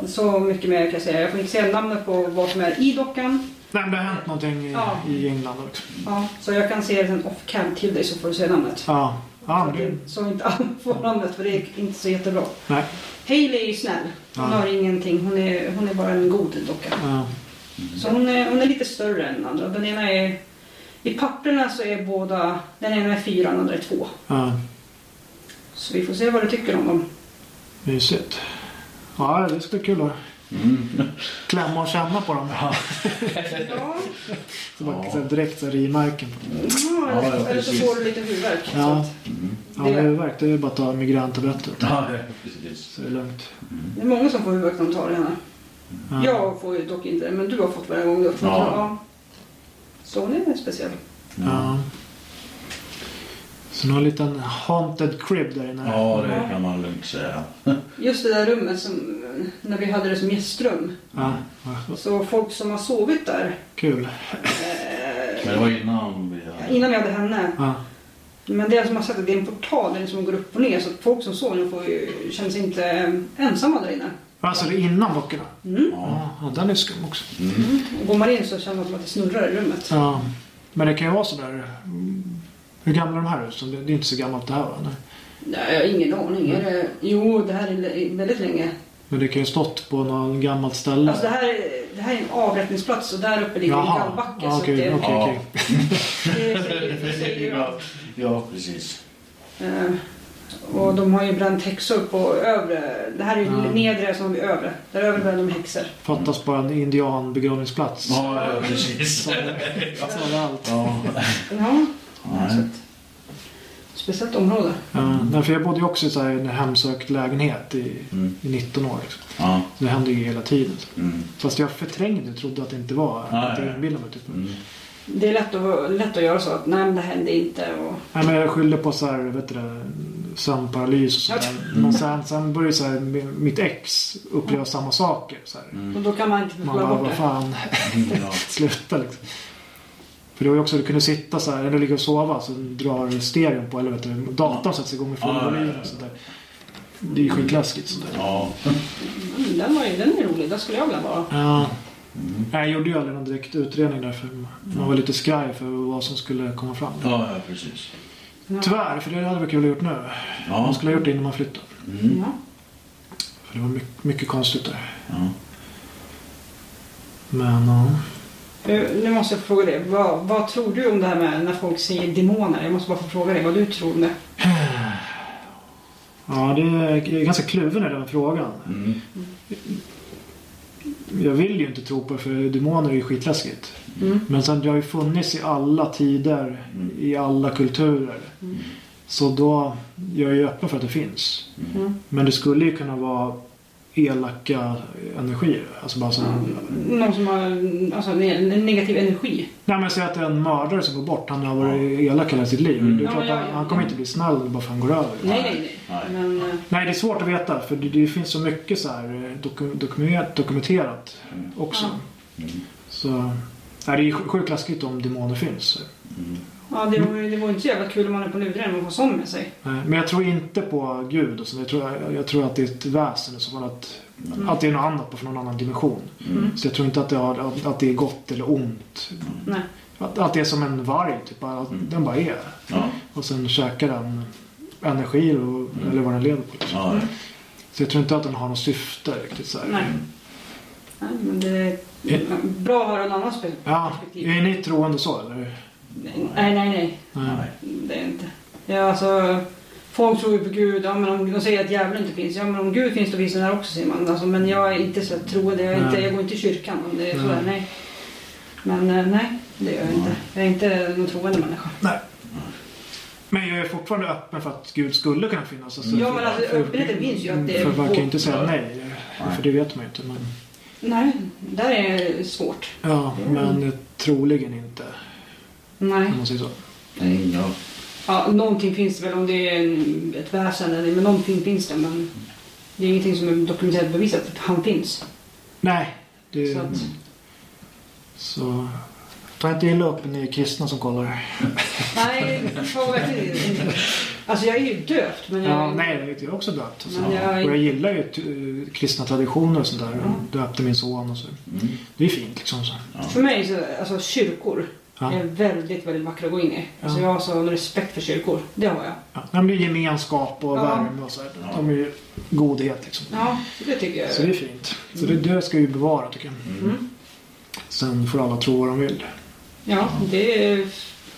Speaker 2: Så mycket mer kan jag säga. Jag får inte säga namnet på vad som är i dockan.
Speaker 1: Nej, men det har hänt någonting i,
Speaker 2: Ja.
Speaker 1: i England också.
Speaker 2: Ja, så jag kan säga sen off cam till dig så får du säga namnet.
Speaker 1: Ja. Ja, men det...
Speaker 2: Så inte alla får namnet för det är inte så jättebra.
Speaker 1: Nej.
Speaker 2: Hailey är ju snäll. Hon
Speaker 1: Ja.
Speaker 2: har ingenting. Hon är, hon är bara en god docka.
Speaker 1: Ja.
Speaker 3: Mm.
Speaker 2: Så hon är, hon är lite större än den andra. Den ena är... I papperna så är båda... Den ena är fyra, den andra är två.
Speaker 1: Ja.
Speaker 2: Så vi får se vad du tycker om dem.
Speaker 1: Mysigt. Ja, det ska bli kul att
Speaker 3: Mm.
Speaker 1: klämma och känna på dem.
Speaker 2: Ja,
Speaker 1: Så man
Speaker 3: Ja.
Speaker 1: kan säga direkt så här i marken.
Speaker 2: ja, eller,
Speaker 3: Ja, ja,
Speaker 2: eller så
Speaker 3: precis.
Speaker 2: får du lite huvudvärk.
Speaker 1: Ja.
Speaker 2: Så att
Speaker 1: Ja,
Speaker 2: Det-
Speaker 1: huvudvärk, det är ju bara att ta migräntabletter.
Speaker 3: Mm. Ja, precis.
Speaker 1: Så det är lugnt.
Speaker 2: det är många som får huvudvärk när de tar det här.
Speaker 1: Ja.
Speaker 2: Jag får ju dock inte det, men du har fått varje gång du har fått
Speaker 3: Ja.
Speaker 2: det. Ja. Så hon är speciell.
Speaker 1: Ja. Så nu har en liten haunted crib där inne.
Speaker 3: Ja, det kan man lugnt säga.
Speaker 2: Just det där rummet som... När vi hade det som gästrum.
Speaker 1: Ja, vad
Speaker 2: Så folk som har sovit där
Speaker 1: Kul.
Speaker 2: eh,
Speaker 3: Men det var innan vi hade...
Speaker 2: Innan vi hade henne.
Speaker 1: Ja.
Speaker 2: Men det är som har sagt att det är en portal där det som går upp och ner så att folk som sover får ju, känns inte eh, ensamma där inne.
Speaker 1: Alltså det är innan dockorna?
Speaker 2: Mm.
Speaker 3: Ja.
Speaker 1: Ja, ja, den är skum också.
Speaker 3: Mm.
Speaker 2: Och går man in så känner man som att det snurrar i rummet.
Speaker 1: Ja. Men det kan ju vara sådär. mm, Hur gamla är de här husen? Det det är inte så gammalt det här va? Nej.
Speaker 2: Nej, jag har ingen aning. Är det, jo, det här är le- väldigt länge.
Speaker 1: Men det kan ju stått på något gammalt ställe.
Speaker 2: Alltså det här, är- det här är en avrättningsplats och där uppe ligger en
Speaker 1: Jaha.
Speaker 2: gallbacke.
Speaker 1: Ja,
Speaker 2: så att
Speaker 1: okej,
Speaker 2: det,
Speaker 1: okej,
Speaker 3: Ja.
Speaker 1: okej.
Speaker 2: det säger- det säger ju allt.
Speaker 3: Oh, Ja, precis.
Speaker 2: Eh, Och de har ju bränt häxor på övre. Det här är ju
Speaker 1: Ja.
Speaker 2: nedre som är övre. Där övre brände de häxor.
Speaker 1: Fattas bara en indianbegravningsplats.
Speaker 3: Ja, ja, precis.
Speaker 1: Så är det allt.
Speaker 3: Ja.
Speaker 2: Ja, så
Speaker 3: Nej.
Speaker 2: att, speciellt område.
Speaker 1: Ja, Eh, nej, för jag bodde ju också i så här en hemsökt lägenhet i,
Speaker 3: Mm.
Speaker 1: i 19 år. Liksom.
Speaker 3: Ja.
Speaker 1: Så det hände ju hela tiden.
Speaker 3: Mm.
Speaker 1: Fast jag förträngde och trodde att det inte var.
Speaker 3: Ja,
Speaker 1: att
Speaker 3: ja,
Speaker 1: jag
Speaker 3: ja.
Speaker 1: inbillade mig typ.
Speaker 3: Mm.
Speaker 2: Det är lätt att, lätt att göra så att nej men det hände inte och
Speaker 1: Nej, men jag skyllde på så här, vet du det, sömnparalys och
Speaker 3: Mm.
Speaker 1: sådär. Men sen, sen började så här, mi- mitt ex uppleva samma saker. Så
Speaker 3: Mm.
Speaker 1: här.
Speaker 2: och då kan man inte
Speaker 1: Man
Speaker 2: förklara
Speaker 1: bara,
Speaker 2: bort
Speaker 1: vad
Speaker 2: det.
Speaker 1: fan,
Speaker 3: Ja.
Speaker 1: sluta liksom. För det var ju också, du kunde sitta så här, eller ligga och sova så drar stereon på, eller vet du, datorn sätts igång med full
Speaker 3: Ja, ja, ja,
Speaker 1: volym
Speaker 3: ja.
Speaker 1: och sådär. Det är ju skitläskigt sådär.
Speaker 3: Ja.
Speaker 2: Mm, Den, var, ju- den är rolig, där skulle jag vilja vara.
Speaker 1: Ja. Jag gjorde ju aldrig någon direkt utredning där för man var lite skraj för vad som skulle komma fram.
Speaker 3: Ja, ja, precis.
Speaker 1: Tyvärr, för det hade vi kul att gjort nu. Man
Speaker 3: Ja.
Speaker 1: skulle ha gjort det innan man flyttade.
Speaker 3: Oh, Mm.
Speaker 2: Ja.
Speaker 1: För det var mycket, mycket konstigt där.
Speaker 3: Ja.
Speaker 1: Men ja.
Speaker 2: Eh, Nu, nu måste jag fråga dig, vad, vad tror du om det här med när folk säger demoner? Jag måste bara få fråga dig vad du tror om det.
Speaker 1: Ja, det är, jag är ganska kluven i den frågan.
Speaker 3: Mm.
Speaker 1: Jag vill ju inte tro på det för demoner är ju skitläskigt.
Speaker 2: Mm.
Speaker 1: Men sen det har ju funnits i alla tider,
Speaker 3: Mm.
Speaker 1: i alla kulturer.
Speaker 2: Mm.
Speaker 1: Så då, jag är ju öppen för att det finns.
Speaker 2: Mm.
Speaker 1: Men det skulle ju kunna vara elaka energier. Alltså bara så
Speaker 2: Någon som har alltså, ne- en negativ energi.
Speaker 1: Nej men säg att det är en mördare som går bort. Han har varit elak hela sitt liv.
Speaker 3: Mm.
Speaker 1: Det är klart,
Speaker 2: Ja, ja, ja.
Speaker 1: han, han kommer inte bli snäll bara för att han går över.
Speaker 2: Nej, nej, nej.
Speaker 3: Nej.
Speaker 2: Men, eh,
Speaker 1: Nej, det är svårt att veta för det, det finns så mycket så här eh, doku- dokumenterat, dokumenterat
Speaker 3: Mm.
Speaker 1: också.
Speaker 3: Mm.
Speaker 1: Så nej, det är sj- sjukt läskigt om demoner finns.
Speaker 3: Mm.
Speaker 2: ja, det, vore, det vore inte så jävla kul om man är på luren och får sån med sig.
Speaker 1: Nej, Eh, Men jag tror inte på Gud. Och så. Jag, tror, jag, jag tror att det är ett väsen i så fall. Att,
Speaker 2: Mm.
Speaker 1: att det är något annat från någon annan dimension.
Speaker 3: Mm.
Speaker 1: Så jag tror inte att det, har, att, att det är gott eller ont.
Speaker 2: Nej.
Speaker 1: Att, att det är som en varg, typ. bara Att
Speaker 3: Mm.
Speaker 1: den bara är.
Speaker 3: Ja.
Speaker 1: Och sen käkar den energi och,
Speaker 3: Mm.
Speaker 1: eller vad den lever på. Liksom.
Speaker 3: Ja.
Speaker 2: Mm.
Speaker 3: ja.
Speaker 1: Så jag tror inte att den har något syfte riktigt så här.
Speaker 2: Nej.
Speaker 3: Mm.
Speaker 2: nej men det är bra att höra en annan spe-
Speaker 1: Ja,
Speaker 2: perspektiv.
Speaker 1: är ni troende så eller?
Speaker 2: Nej, nej, nej.
Speaker 1: Nej.
Speaker 2: Det är inte. Ja, alltså, folk tror ju på Gud. Ja, men om, de säger att djävulen inte finns. Ja, men om Gud finns då finns den här också, säger man. Alltså, men jag är inte så troende. Jag, är inte,
Speaker 1: Nej.
Speaker 2: jag går inte i kyrkan. Om det är
Speaker 1: Nej.
Speaker 2: sådär, nej. Men eh, nej, det gör jag inte.
Speaker 3: Nej.
Speaker 2: Jag är inte någon troende människa.
Speaker 1: Men jag är fortfarande öppen för att Gud skulle kunna finnas. Alltså,
Speaker 2: Ja,
Speaker 1: för-
Speaker 2: men alltså,
Speaker 1: för,
Speaker 2: öppenheten finns ju att det
Speaker 1: för man kan ju inte säga
Speaker 3: Ja.
Speaker 1: nej.
Speaker 3: Nej.
Speaker 1: För det vet man ju inte. Men,
Speaker 2: Nej, där är svårt.
Speaker 1: ja,
Speaker 3: Mm.
Speaker 1: men troligen inte.
Speaker 2: Nej.
Speaker 1: Om man säger så.
Speaker 3: Nej, ja.
Speaker 2: Ja, någonting finns det väl om det är en, ett väsen eller men någonting finns det. Men det är ingenting som är dokumenterat bevisat att han finns.
Speaker 1: Nej. Det,
Speaker 2: Så att,
Speaker 1: så ta inte illa upp ni kristna som kollar.
Speaker 2: nej, jag var verkligen inte. Alltså jag är ju döpt men jag...
Speaker 1: Ja, nej, jag är också döpt. Alltså.
Speaker 2: Men jag-
Speaker 1: Och jag gillar ju t- kristna traditioner och sådär.
Speaker 2: Ja.
Speaker 1: Döpte min son och så.
Speaker 3: Mm. Oh.
Speaker 1: Det är fint liksom. Så.
Speaker 2: För mig så, alltså kyrkor
Speaker 1: Ja.
Speaker 2: är väldigt, väldigt vackra att gå in i. Alltså
Speaker 1: Ja.
Speaker 2: jag har sån respekt för kyrkor. Det har jag.
Speaker 1: Ja. men Det är gemenskap och
Speaker 2: Ja.
Speaker 1: värme och så. här. De är ju godhet liksom.
Speaker 2: Ja, det tycker jag.
Speaker 1: Så det är fint. Så det, det ska vi bevara tycker jag.
Speaker 2: Mm.
Speaker 1: Sen får alla tro vad de vill.
Speaker 2: Ja, det är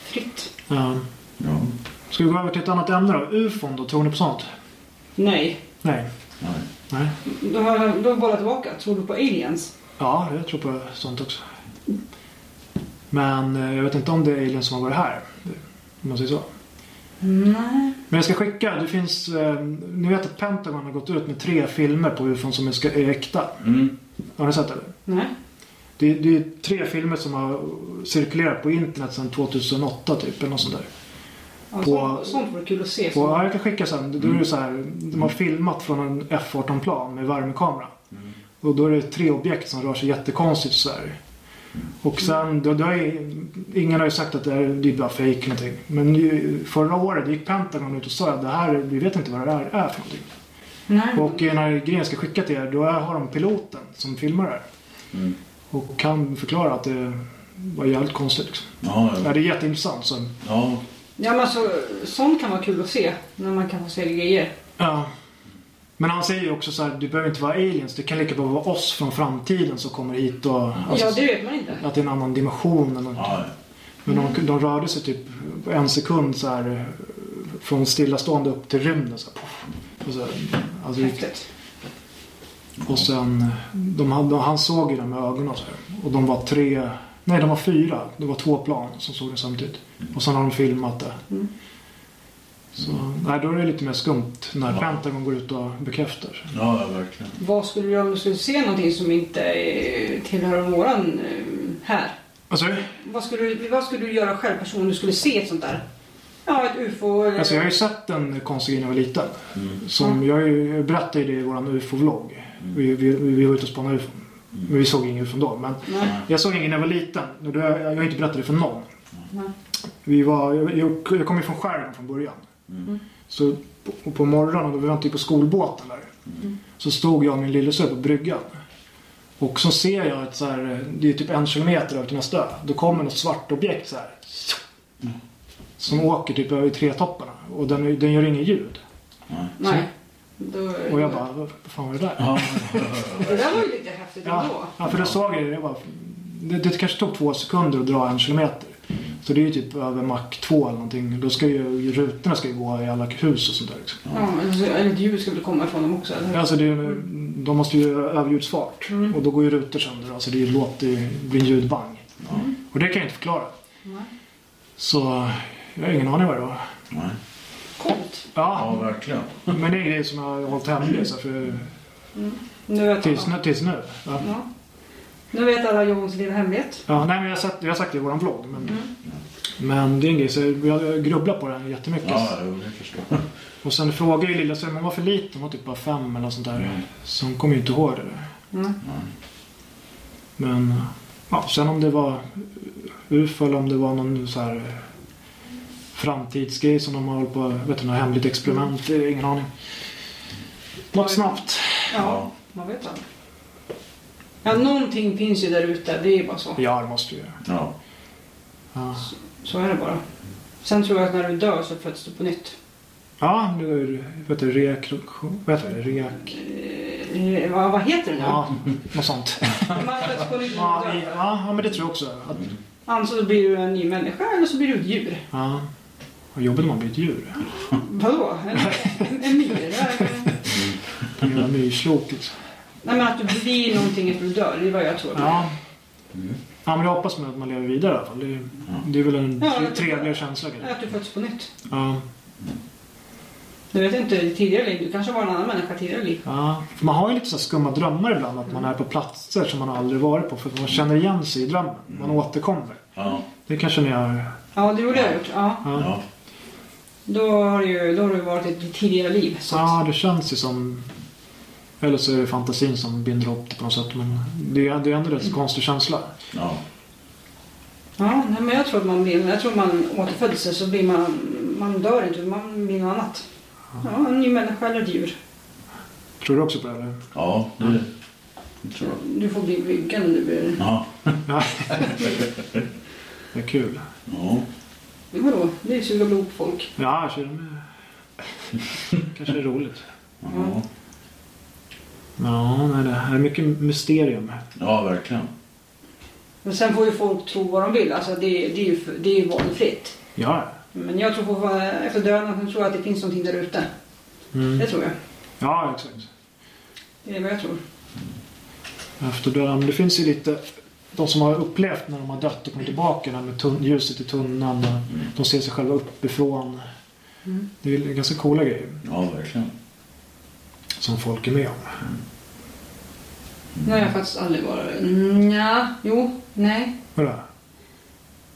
Speaker 2: fritt.
Speaker 1: Ja.
Speaker 3: Ja.
Speaker 1: Ska vi gå över till ett annat ämne då? Ufon då? Tror ni på sånt?
Speaker 2: Nej.
Speaker 1: Nej.
Speaker 3: Nej.
Speaker 1: Nej.
Speaker 2: Då har jag då bollar jag tillbaka. Tror du på aliens?
Speaker 1: Ja, jag tror på sånt också. Men eh, jag vet inte om det är aliens som har varit här. Om man säger så.
Speaker 2: Nej.
Speaker 1: Men jag ska skicka. Det finns... Eh, ni vet att Pentagon har gått ut med tre filmer på ufon som är ska- är äkta.
Speaker 3: Mm.
Speaker 1: Har ni sett det?
Speaker 2: Nej.
Speaker 1: Det, det är tre filmer som har cirkulerat på internet sedan 2008 typ. Eller något sånt där.
Speaker 2: Ja,
Speaker 1: På-
Speaker 2: sånt, sånt vore kul att se.
Speaker 1: Och, ja, jag kan skicka sen. Då är det så här, de har filmat från en F-18-plan med värmekamera.
Speaker 3: Mm.
Speaker 1: Och då är det tre objekt som rör sig jättekonstigt så här. Och sen, då, då är, ingen har ju sagt att det, här, det är bara fake någonting. Men ju, förra året gick Pentagon ut och sa att det här, vi vet inte vad det här är för någonting.
Speaker 2: Nej.
Speaker 1: Och eh, när grejen ska skicka till er, då är- har de piloten som filmar det här.
Speaker 3: Mm.
Speaker 1: Och kan förklara att det var jävligt konstigt. Liksom.
Speaker 3: Ja,
Speaker 1: Ja,
Speaker 3: ja.
Speaker 1: det är jätteintressant. Så,
Speaker 3: ja.
Speaker 2: Ja, men alltså, sånt kan vara kul att se. När man kan få se grejer.
Speaker 1: ja. Men han säger ju också så här, det behöver inte vara aliens, det kan lika bra vara oss från framtiden som kommer hit och... Alltså,
Speaker 2: ja, det vet man inte.
Speaker 1: Att det är en annan dimension eller någonting.
Speaker 3: ja.
Speaker 1: Men de, de rörde sig typ på en sekund så här eh, från stillastående upp till rymden. Så här, poff. och, så, alltså,
Speaker 2: Häftigt.
Speaker 1: och sen, eh, de, hade- han såg ju det med ögonen och så här. Och de var tre, nej de var fyra. Det var två plan som såg det samtidigt. Och sen har de filmat det.
Speaker 2: Mm.
Speaker 1: Så, nej, då är det lite mer skumt när
Speaker 3: Ja.
Speaker 1: Pentagon går ut och bekräftar.
Speaker 3: Ja, ja, verkligen.
Speaker 2: Vad skulle du göra om du skulle se någonting som inte eh, tillhör våran eh, här?
Speaker 1: Alltså,
Speaker 2: Vad skulle, du- vad skulle du göra själv person om du skulle se ett sånt där? Ja, ett ufo eller...
Speaker 1: alltså jag har ju sett en konstig grej när jag var liten.
Speaker 3: Mm.
Speaker 1: Som jag, har ju- jag berättade ju det i våran ufo-vlogg. Vi, vi, vi var ute och spanade ufon. Men vi såg ingen ufon då. Men
Speaker 2: Nej.
Speaker 1: jag såg ingen när jag var liten. Och det, jag har inte berättat det för någon.
Speaker 2: Nej.
Speaker 1: Vi var, jag, jag, jag kom ju från skärgården från början.
Speaker 3: Mm.
Speaker 1: Så på, på morgonen, då vi väntade på skolbåten där.
Speaker 3: Mm.
Speaker 1: Så stod jag och min lillasyrra på bryggan. Och så ser jag att så här, det är typ en kilometer över till nästa ö. Då kommer något svart objekt så här. Som
Speaker 3: Mm.
Speaker 1: åker typ över trätopparna. Och den, den gör inget ljud.
Speaker 3: Nej.
Speaker 2: Nej. Då,
Speaker 1: Och jag bara, vad fan var det där?
Speaker 3: Ja.
Speaker 2: Det där var ju lite häftigt
Speaker 1: Ja,
Speaker 2: ändå.
Speaker 1: ja för då såg jag det. Jag bara, det, det kanske tog två sekunder att dra en kilometer.
Speaker 3: Mm.
Speaker 1: Så det är ju typ över mack 2 eller någonting. Då ska ju rutorna ska ju gå i alla hus och sånt där. Liksom.
Speaker 2: Ja, alltså, eller ett ljud skulle komma ifrån dem också. Eller? hur?
Speaker 1: Alltså det, är- de måste ju göra överljudsfart. Och då går ju rutor sönder. Alltså det är ju låt, det blir en ljudbang. Och det kan jag inte förklara.
Speaker 2: Nej.
Speaker 1: Så jag har ingen aning vad det var.
Speaker 3: Nej.
Speaker 2: Coolt.
Speaker 3: Ja,
Speaker 1: Ja,
Speaker 3: verkligen.
Speaker 1: men det är en grej som jag har hållit hemlig så här, för,
Speaker 2: Mm. Nu vet
Speaker 1: tills,
Speaker 2: alla.
Speaker 1: nu- tills nu. Ja.
Speaker 2: Ja. Nu vet alla Johans lilla hemlighet.
Speaker 1: Ja, nej, men jag har sagt, jag har sagt det i våran vlogg. Men,
Speaker 2: Mm.
Speaker 1: men det är en grej, så jag, jag grubblar på den jättemycket.
Speaker 3: Ja, jo, det förstår jag.
Speaker 1: Och sen frågade ju lilla Sven, hon var för liten, hon var typ bara fem eller något sånt där.
Speaker 3: Mm.
Speaker 1: Så hon kom ju inte ihåg det där.
Speaker 2: Mm.
Speaker 1: Men eh, ja, sen om det var UFO eller om det var någon så här eh, framtidsgrej som de har hållit på, vet du, något hemligt experiment, det är ingen aning. Något snabbt.
Speaker 2: Ja, man vet aldrig. Ja, någonting finns ju där ute. Det är bara så.
Speaker 1: Ja, det måste ju.
Speaker 3: Ja.
Speaker 1: Ja,
Speaker 2: Så är det bara. Sen tror jag att när du dör så föds du på nytt.
Speaker 1: ja nu är det, vet du, reaktion, vet du, reak...
Speaker 2: Eh, vad, vad heter det nu?
Speaker 1: Ja, något sånt.
Speaker 2: Man föds på nytt när
Speaker 1: Ja,
Speaker 2: man
Speaker 1: i-
Speaker 2: dör.
Speaker 1: ja, men det tror jag också. Att,
Speaker 2: Antingen så blir du en ny människa eller så blir du ett djur.
Speaker 1: ja. Vad jobbigt om man blir ett djur.
Speaker 2: Vadå? En, en, en myra?
Speaker 1: En jävla myrslok liksom.
Speaker 2: Nej men att du blir någonting efter du dör, det är vad jag tror.
Speaker 1: Ja. ja, men jag hoppas med att man lever vidare i alla fall. Det är, det är väl en
Speaker 2: Ja,
Speaker 1: tre-
Speaker 2: det-
Speaker 1: trevligare känsla kanske.
Speaker 2: Att du föds på nytt.
Speaker 1: Ja.
Speaker 2: Du vet inte i tidigare liv, du kanske var en annan människa i tidigare liv.
Speaker 1: Ja, för man har ju lite så här skumma drömmar ibland. Att man är på platser som man aldrig varit på. För att man känner igen sig i drömmen. Man återkommer.
Speaker 3: Ja.
Speaker 1: Det kanske ni har...
Speaker 2: Ja, det gjorde jag gjort. Ja.
Speaker 1: Ja.
Speaker 3: Ja.
Speaker 2: Då har, du, ju- då har du varit i ditt tidigare liv. Så att,
Speaker 1: Ja, det känns ju som... Eller så är det fantasin som binder upp det på något sätt. Men det är, det är ändå rätt konstig känsla.
Speaker 3: Ja.
Speaker 2: ja, nej, men jag tror att man blir, jag tror man återföds så blir man, man dör inte, man blir något annat. Ja, en ny människa eller ett djur.
Speaker 1: Tror du också på det? Eller?
Speaker 3: Ja, det, det tror jag.
Speaker 2: Du får bli bryggan när du blir...
Speaker 3: Ja.
Speaker 1: Ja. det är kul.
Speaker 3: ja.
Speaker 2: Vadå? Det är ju suga blod på folk.
Speaker 1: Ja, så är det med. Kanske är roligt.
Speaker 3: Ja.
Speaker 1: Ja, nej, det här är mycket mysterium.
Speaker 3: ja, verkligen.
Speaker 2: Men sen får ju folk tro vad de vill. Alltså det, det, är, ju, för- det är ju valfritt.
Speaker 1: Ja,
Speaker 2: Men jag tror fortfarande, efter döden, så tror jag att det finns någonting där ute. Det
Speaker 1: mm.
Speaker 2: tror jag.
Speaker 1: ja exakt.
Speaker 2: Det är vad jag tror.
Speaker 1: Efter döden. Men Det finns ju lite... De som har upplevt när de har dött och kommit tillbaka, det här med tun- ljuset i tunnan. Och de ser sig själva uppifrån.
Speaker 2: Mm.
Speaker 1: Det är ju ganska coola grejer
Speaker 3: Ja, verkligen.
Speaker 1: som folk är med om.
Speaker 2: Nu har jag faktiskt aldrig varit... Mm, ja, jo, nej.
Speaker 1: Vadå?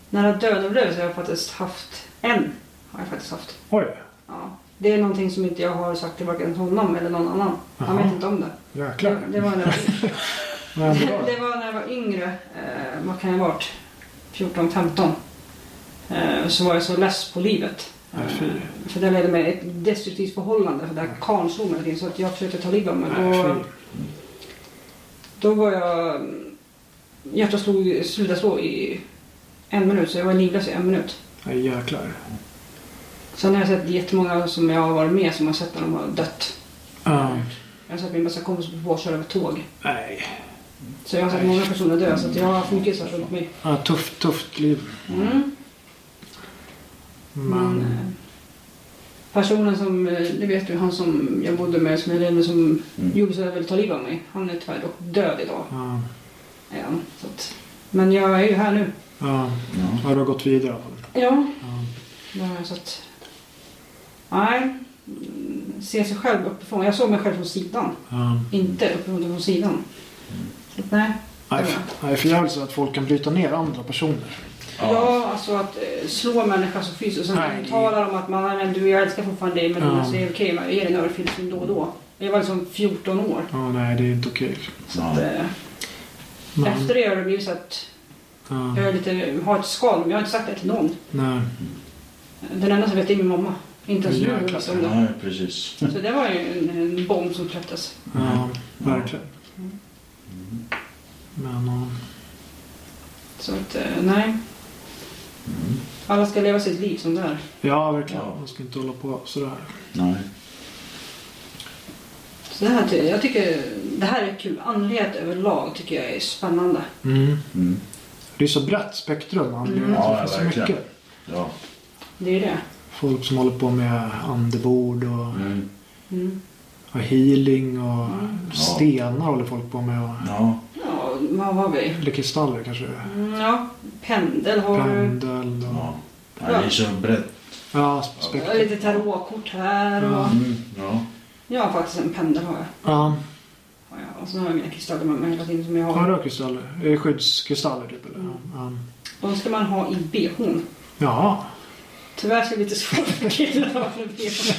Speaker 2: Nära döden-upplevelse har jag faktiskt haft en. Har jag faktiskt haft.
Speaker 1: Oj,
Speaker 2: Ja. Det är någonting som inte jag har sagt till varken honom eller någon annan. Han
Speaker 1: Jaha.
Speaker 2: vet inte om det. Det,
Speaker 1: jäklar.
Speaker 2: det, var, när jag,
Speaker 1: Vad hände då?
Speaker 2: det var när jag var yngre. Eh, vad kan jag ha varit? 14, 15. Eh, så var jag så less på livet. Eh,
Speaker 1: Nej, fy.
Speaker 2: För det ledde mig i ett destruktivt förhållande. För där karln slog mig hela tiden, så att jag försökte ta livet av mig.
Speaker 1: Nej,
Speaker 2: Då,
Speaker 1: fy.
Speaker 2: Då var jag... Hjärtat slog, slutade slå i en minut, så jag var livlös i en minut.
Speaker 1: Nej, jäklar.
Speaker 2: Sen har jag sett jättemånga som jag har varit med som har sett när de har dött.
Speaker 1: Ja.
Speaker 2: Jag har sett min bästa kompis bli påkörd av ett tåg.
Speaker 1: nej.
Speaker 2: Så jag har sett många personer dö, så att jag har haft mycket så här runt mig.
Speaker 1: Ja, tufft, tufft liv.
Speaker 2: Mm. Men,
Speaker 1: Men...
Speaker 2: eh, personen som, eh, det vet du, han som jag bodde med, som jag levde med, som
Speaker 3: Mm.
Speaker 2: gjorde så att jag ville ta livet av mig. Han är tyvärr dock död idag.
Speaker 1: Ja,
Speaker 2: är han. så att, men jag är ju här nu.
Speaker 1: ja.
Speaker 3: Ja.
Speaker 1: ja, du har gått vidare i alla fall.
Speaker 2: Ja,
Speaker 1: Ja.
Speaker 2: Det har jag sett. Nej. mm, Se sig själv uppifrån. Jag såg mig själv från sidan.
Speaker 1: Ja.
Speaker 2: Inte uppifrån utan från sidan. Så att, nej.
Speaker 1: Nej, f- nej, för jävligt så att folk kan bryta ner andra personer.
Speaker 3: Ja.
Speaker 2: Ja, alltså att eh, slå människor så fysiskt. Och sen
Speaker 1: Nej.
Speaker 2: talar de om att man, nej, men du jag älskar fortfarande dig men
Speaker 1: Ja.
Speaker 2: alltså, det är okej, jag ger dig en örfil då och då. Jag var liksom 14 år.
Speaker 1: Ja, nej, det är inte okej.
Speaker 2: Så att, eh,
Speaker 1: Men,
Speaker 2: efter det har det blivit så att
Speaker 1: ja,
Speaker 2: jag är lite, har ett skal, men jag har inte sagt det till någon.
Speaker 1: nej.
Speaker 2: Den enda som vet det är min mamma. Inte ens
Speaker 1: Jäklar.
Speaker 2: du vet om det.
Speaker 3: Nej, precis.
Speaker 2: Så det var ju en, en bomb som släpptes. Mm.
Speaker 1: Ja, verkligen. Men,
Speaker 2: eh,
Speaker 1: ja.
Speaker 2: Så att, eh, nej. Alla ska leva sitt liv som det är.
Speaker 1: ja, verkligen.
Speaker 3: Ja.
Speaker 1: Man ska inte hålla på sådär.
Speaker 3: Nej.
Speaker 2: Så det här, ty- jag tycker, det här är kul. Andlighet överlag tycker jag är spännande.
Speaker 1: Mm.
Speaker 3: Mm.
Speaker 1: Det är så brett spektrum. Mm.
Speaker 2: Mm.
Speaker 1: Ja,
Speaker 3: Ja,
Speaker 1: det finns så
Speaker 3: verkligen.
Speaker 1: mycket.
Speaker 3: Ja.
Speaker 2: Det är det.
Speaker 1: Folk som håller på med andebord och,
Speaker 3: Mm.
Speaker 2: Mm.
Speaker 1: och healing och
Speaker 2: Mm.
Speaker 1: stenar håller folk på med. Och,
Speaker 3: Ja.
Speaker 2: Ja, vad har vi?
Speaker 1: Eller kristaller kanske.
Speaker 2: Mm, ja, pendel har du.
Speaker 1: Pendel och...
Speaker 3: ja. Nej, det är så brett.
Speaker 1: Ja,
Speaker 2: Ja,
Speaker 1: spektrum.
Speaker 2: Lite tarotkort här och...
Speaker 1: Ja.
Speaker 3: Mm. Ja.
Speaker 2: Jag har faktiskt en pendel har jag.
Speaker 1: Ja.
Speaker 2: Har jag. Och så har jag mina kristaller med mig hela tiden som jag
Speaker 1: Ja,
Speaker 2: har.
Speaker 1: det är kristaller. Det är Skyddskristaller typ eller?
Speaker 2: Mm.
Speaker 1: Ja.
Speaker 2: De ska man ha i bhn.
Speaker 1: Jaha.
Speaker 2: Tyvärr så är det lite svårt för killar att ha med bh.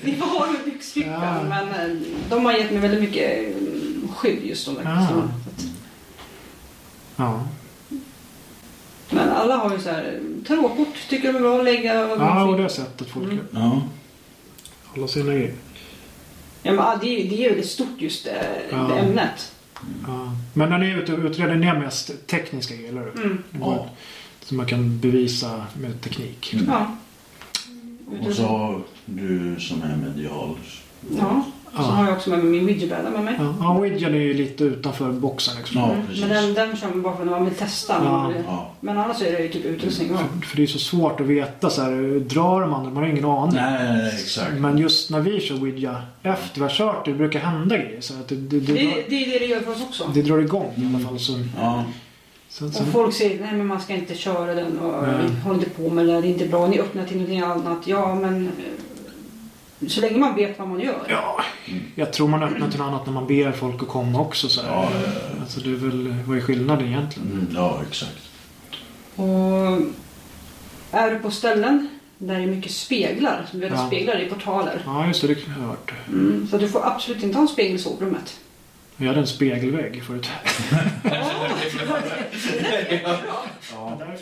Speaker 2: Ni får ha dem i byxfickan.
Speaker 1: Ja.
Speaker 2: Men eh, de har gett mig väldigt mycket eh, skydd just de där
Speaker 1: Ja.
Speaker 2: kristalerna. Så att-
Speaker 1: Ja.
Speaker 2: Men alla har ju så här eh, tarotkort. Tycker de är bra att lägga. Och
Speaker 1: Ja, och det sättet folk
Speaker 2: Mm.
Speaker 3: Ja.
Speaker 1: håller sina grejer.
Speaker 2: ja, men, ah, det, är, ju- det är ju väldigt stort just det,
Speaker 1: Ja.
Speaker 2: det ämnet.
Speaker 1: Ja. Men när ni är ute och utreder, ni har mest tekniska grejer, eller hur?
Speaker 2: Mm.
Speaker 1: Det går-
Speaker 3: Ja.
Speaker 1: Som man kan bevisa med teknik.
Speaker 3: Mm.
Speaker 2: Ja.
Speaker 3: Och så har du som är medial.
Speaker 2: Ja. Och så
Speaker 1: Ja.
Speaker 2: har jag också med mig min widgetbräda med mig.
Speaker 1: Ja, ja widgen är ju lite utanför boxen liksom.
Speaker 3: Ja,
Speaker 2: Mm.
Speaker 3: precis.
Speaker 2: Men den, den kör man bara för när man vill testa.
Speaker 1: Ja.
Speaker 2: Man vill-
Speaker 3: Ja.
Speaker 2: Men annars är det ju typ utrustning. Ja.
Speaker 1: För, för det är så svårt att veta så här, drar de andra? Man har ingen aning.
Speaker 3: Nej, exakt.
Speaker 1: Men just när vi kör Ouija, efter vi har kört det, brukar hända grejer. Så att det, det, det,
Speaker 2: Det,
Speaker 1: drar,
Speaker 2: det är det det gör för oss också.
Speaker 1: det drar igång i alla
Speaker 3: Mm.
Speaker 1: fall. Så,
Speaker 3: Ja.
Speaker 1: sen,
Speaker 2: Och
Speaker 1: sen,
Speaker 2: folk säger nej men man ska inte köra den och
Speaker 1: Nej.
Speaker 2: håll inte på med det, det är inte bra, ni öppnar till någonting annat. Ja men eh, så länge man vet vad man gör.
Speaker 1: ja,
Speaker 3: Mm.
Speaker 1: jag tror man öppnar till något annat när man ber folk att komma också. Så här.
Speaker 3: Ja, ja, ja.
Speaker 1: Alltså det är väl, vad är skillnaden egentligen?
Speaker 3: Mm, ja, exakt.
Speaker 2: Och är du på ställen Där det är mycket speglar. Som vi vet att
Speaker 1: Ja.
Speaker 2: speglar är portaler.
Speaker 1: Ja, just det. Det har jag hört.
Speaker 2: Mm. Så du får absolut inte ha en spegel i sovrummet.
Speaker 1: Vi hade en spegelvägg förut.
Speaker 3: Ja.
Speaker 1: Därför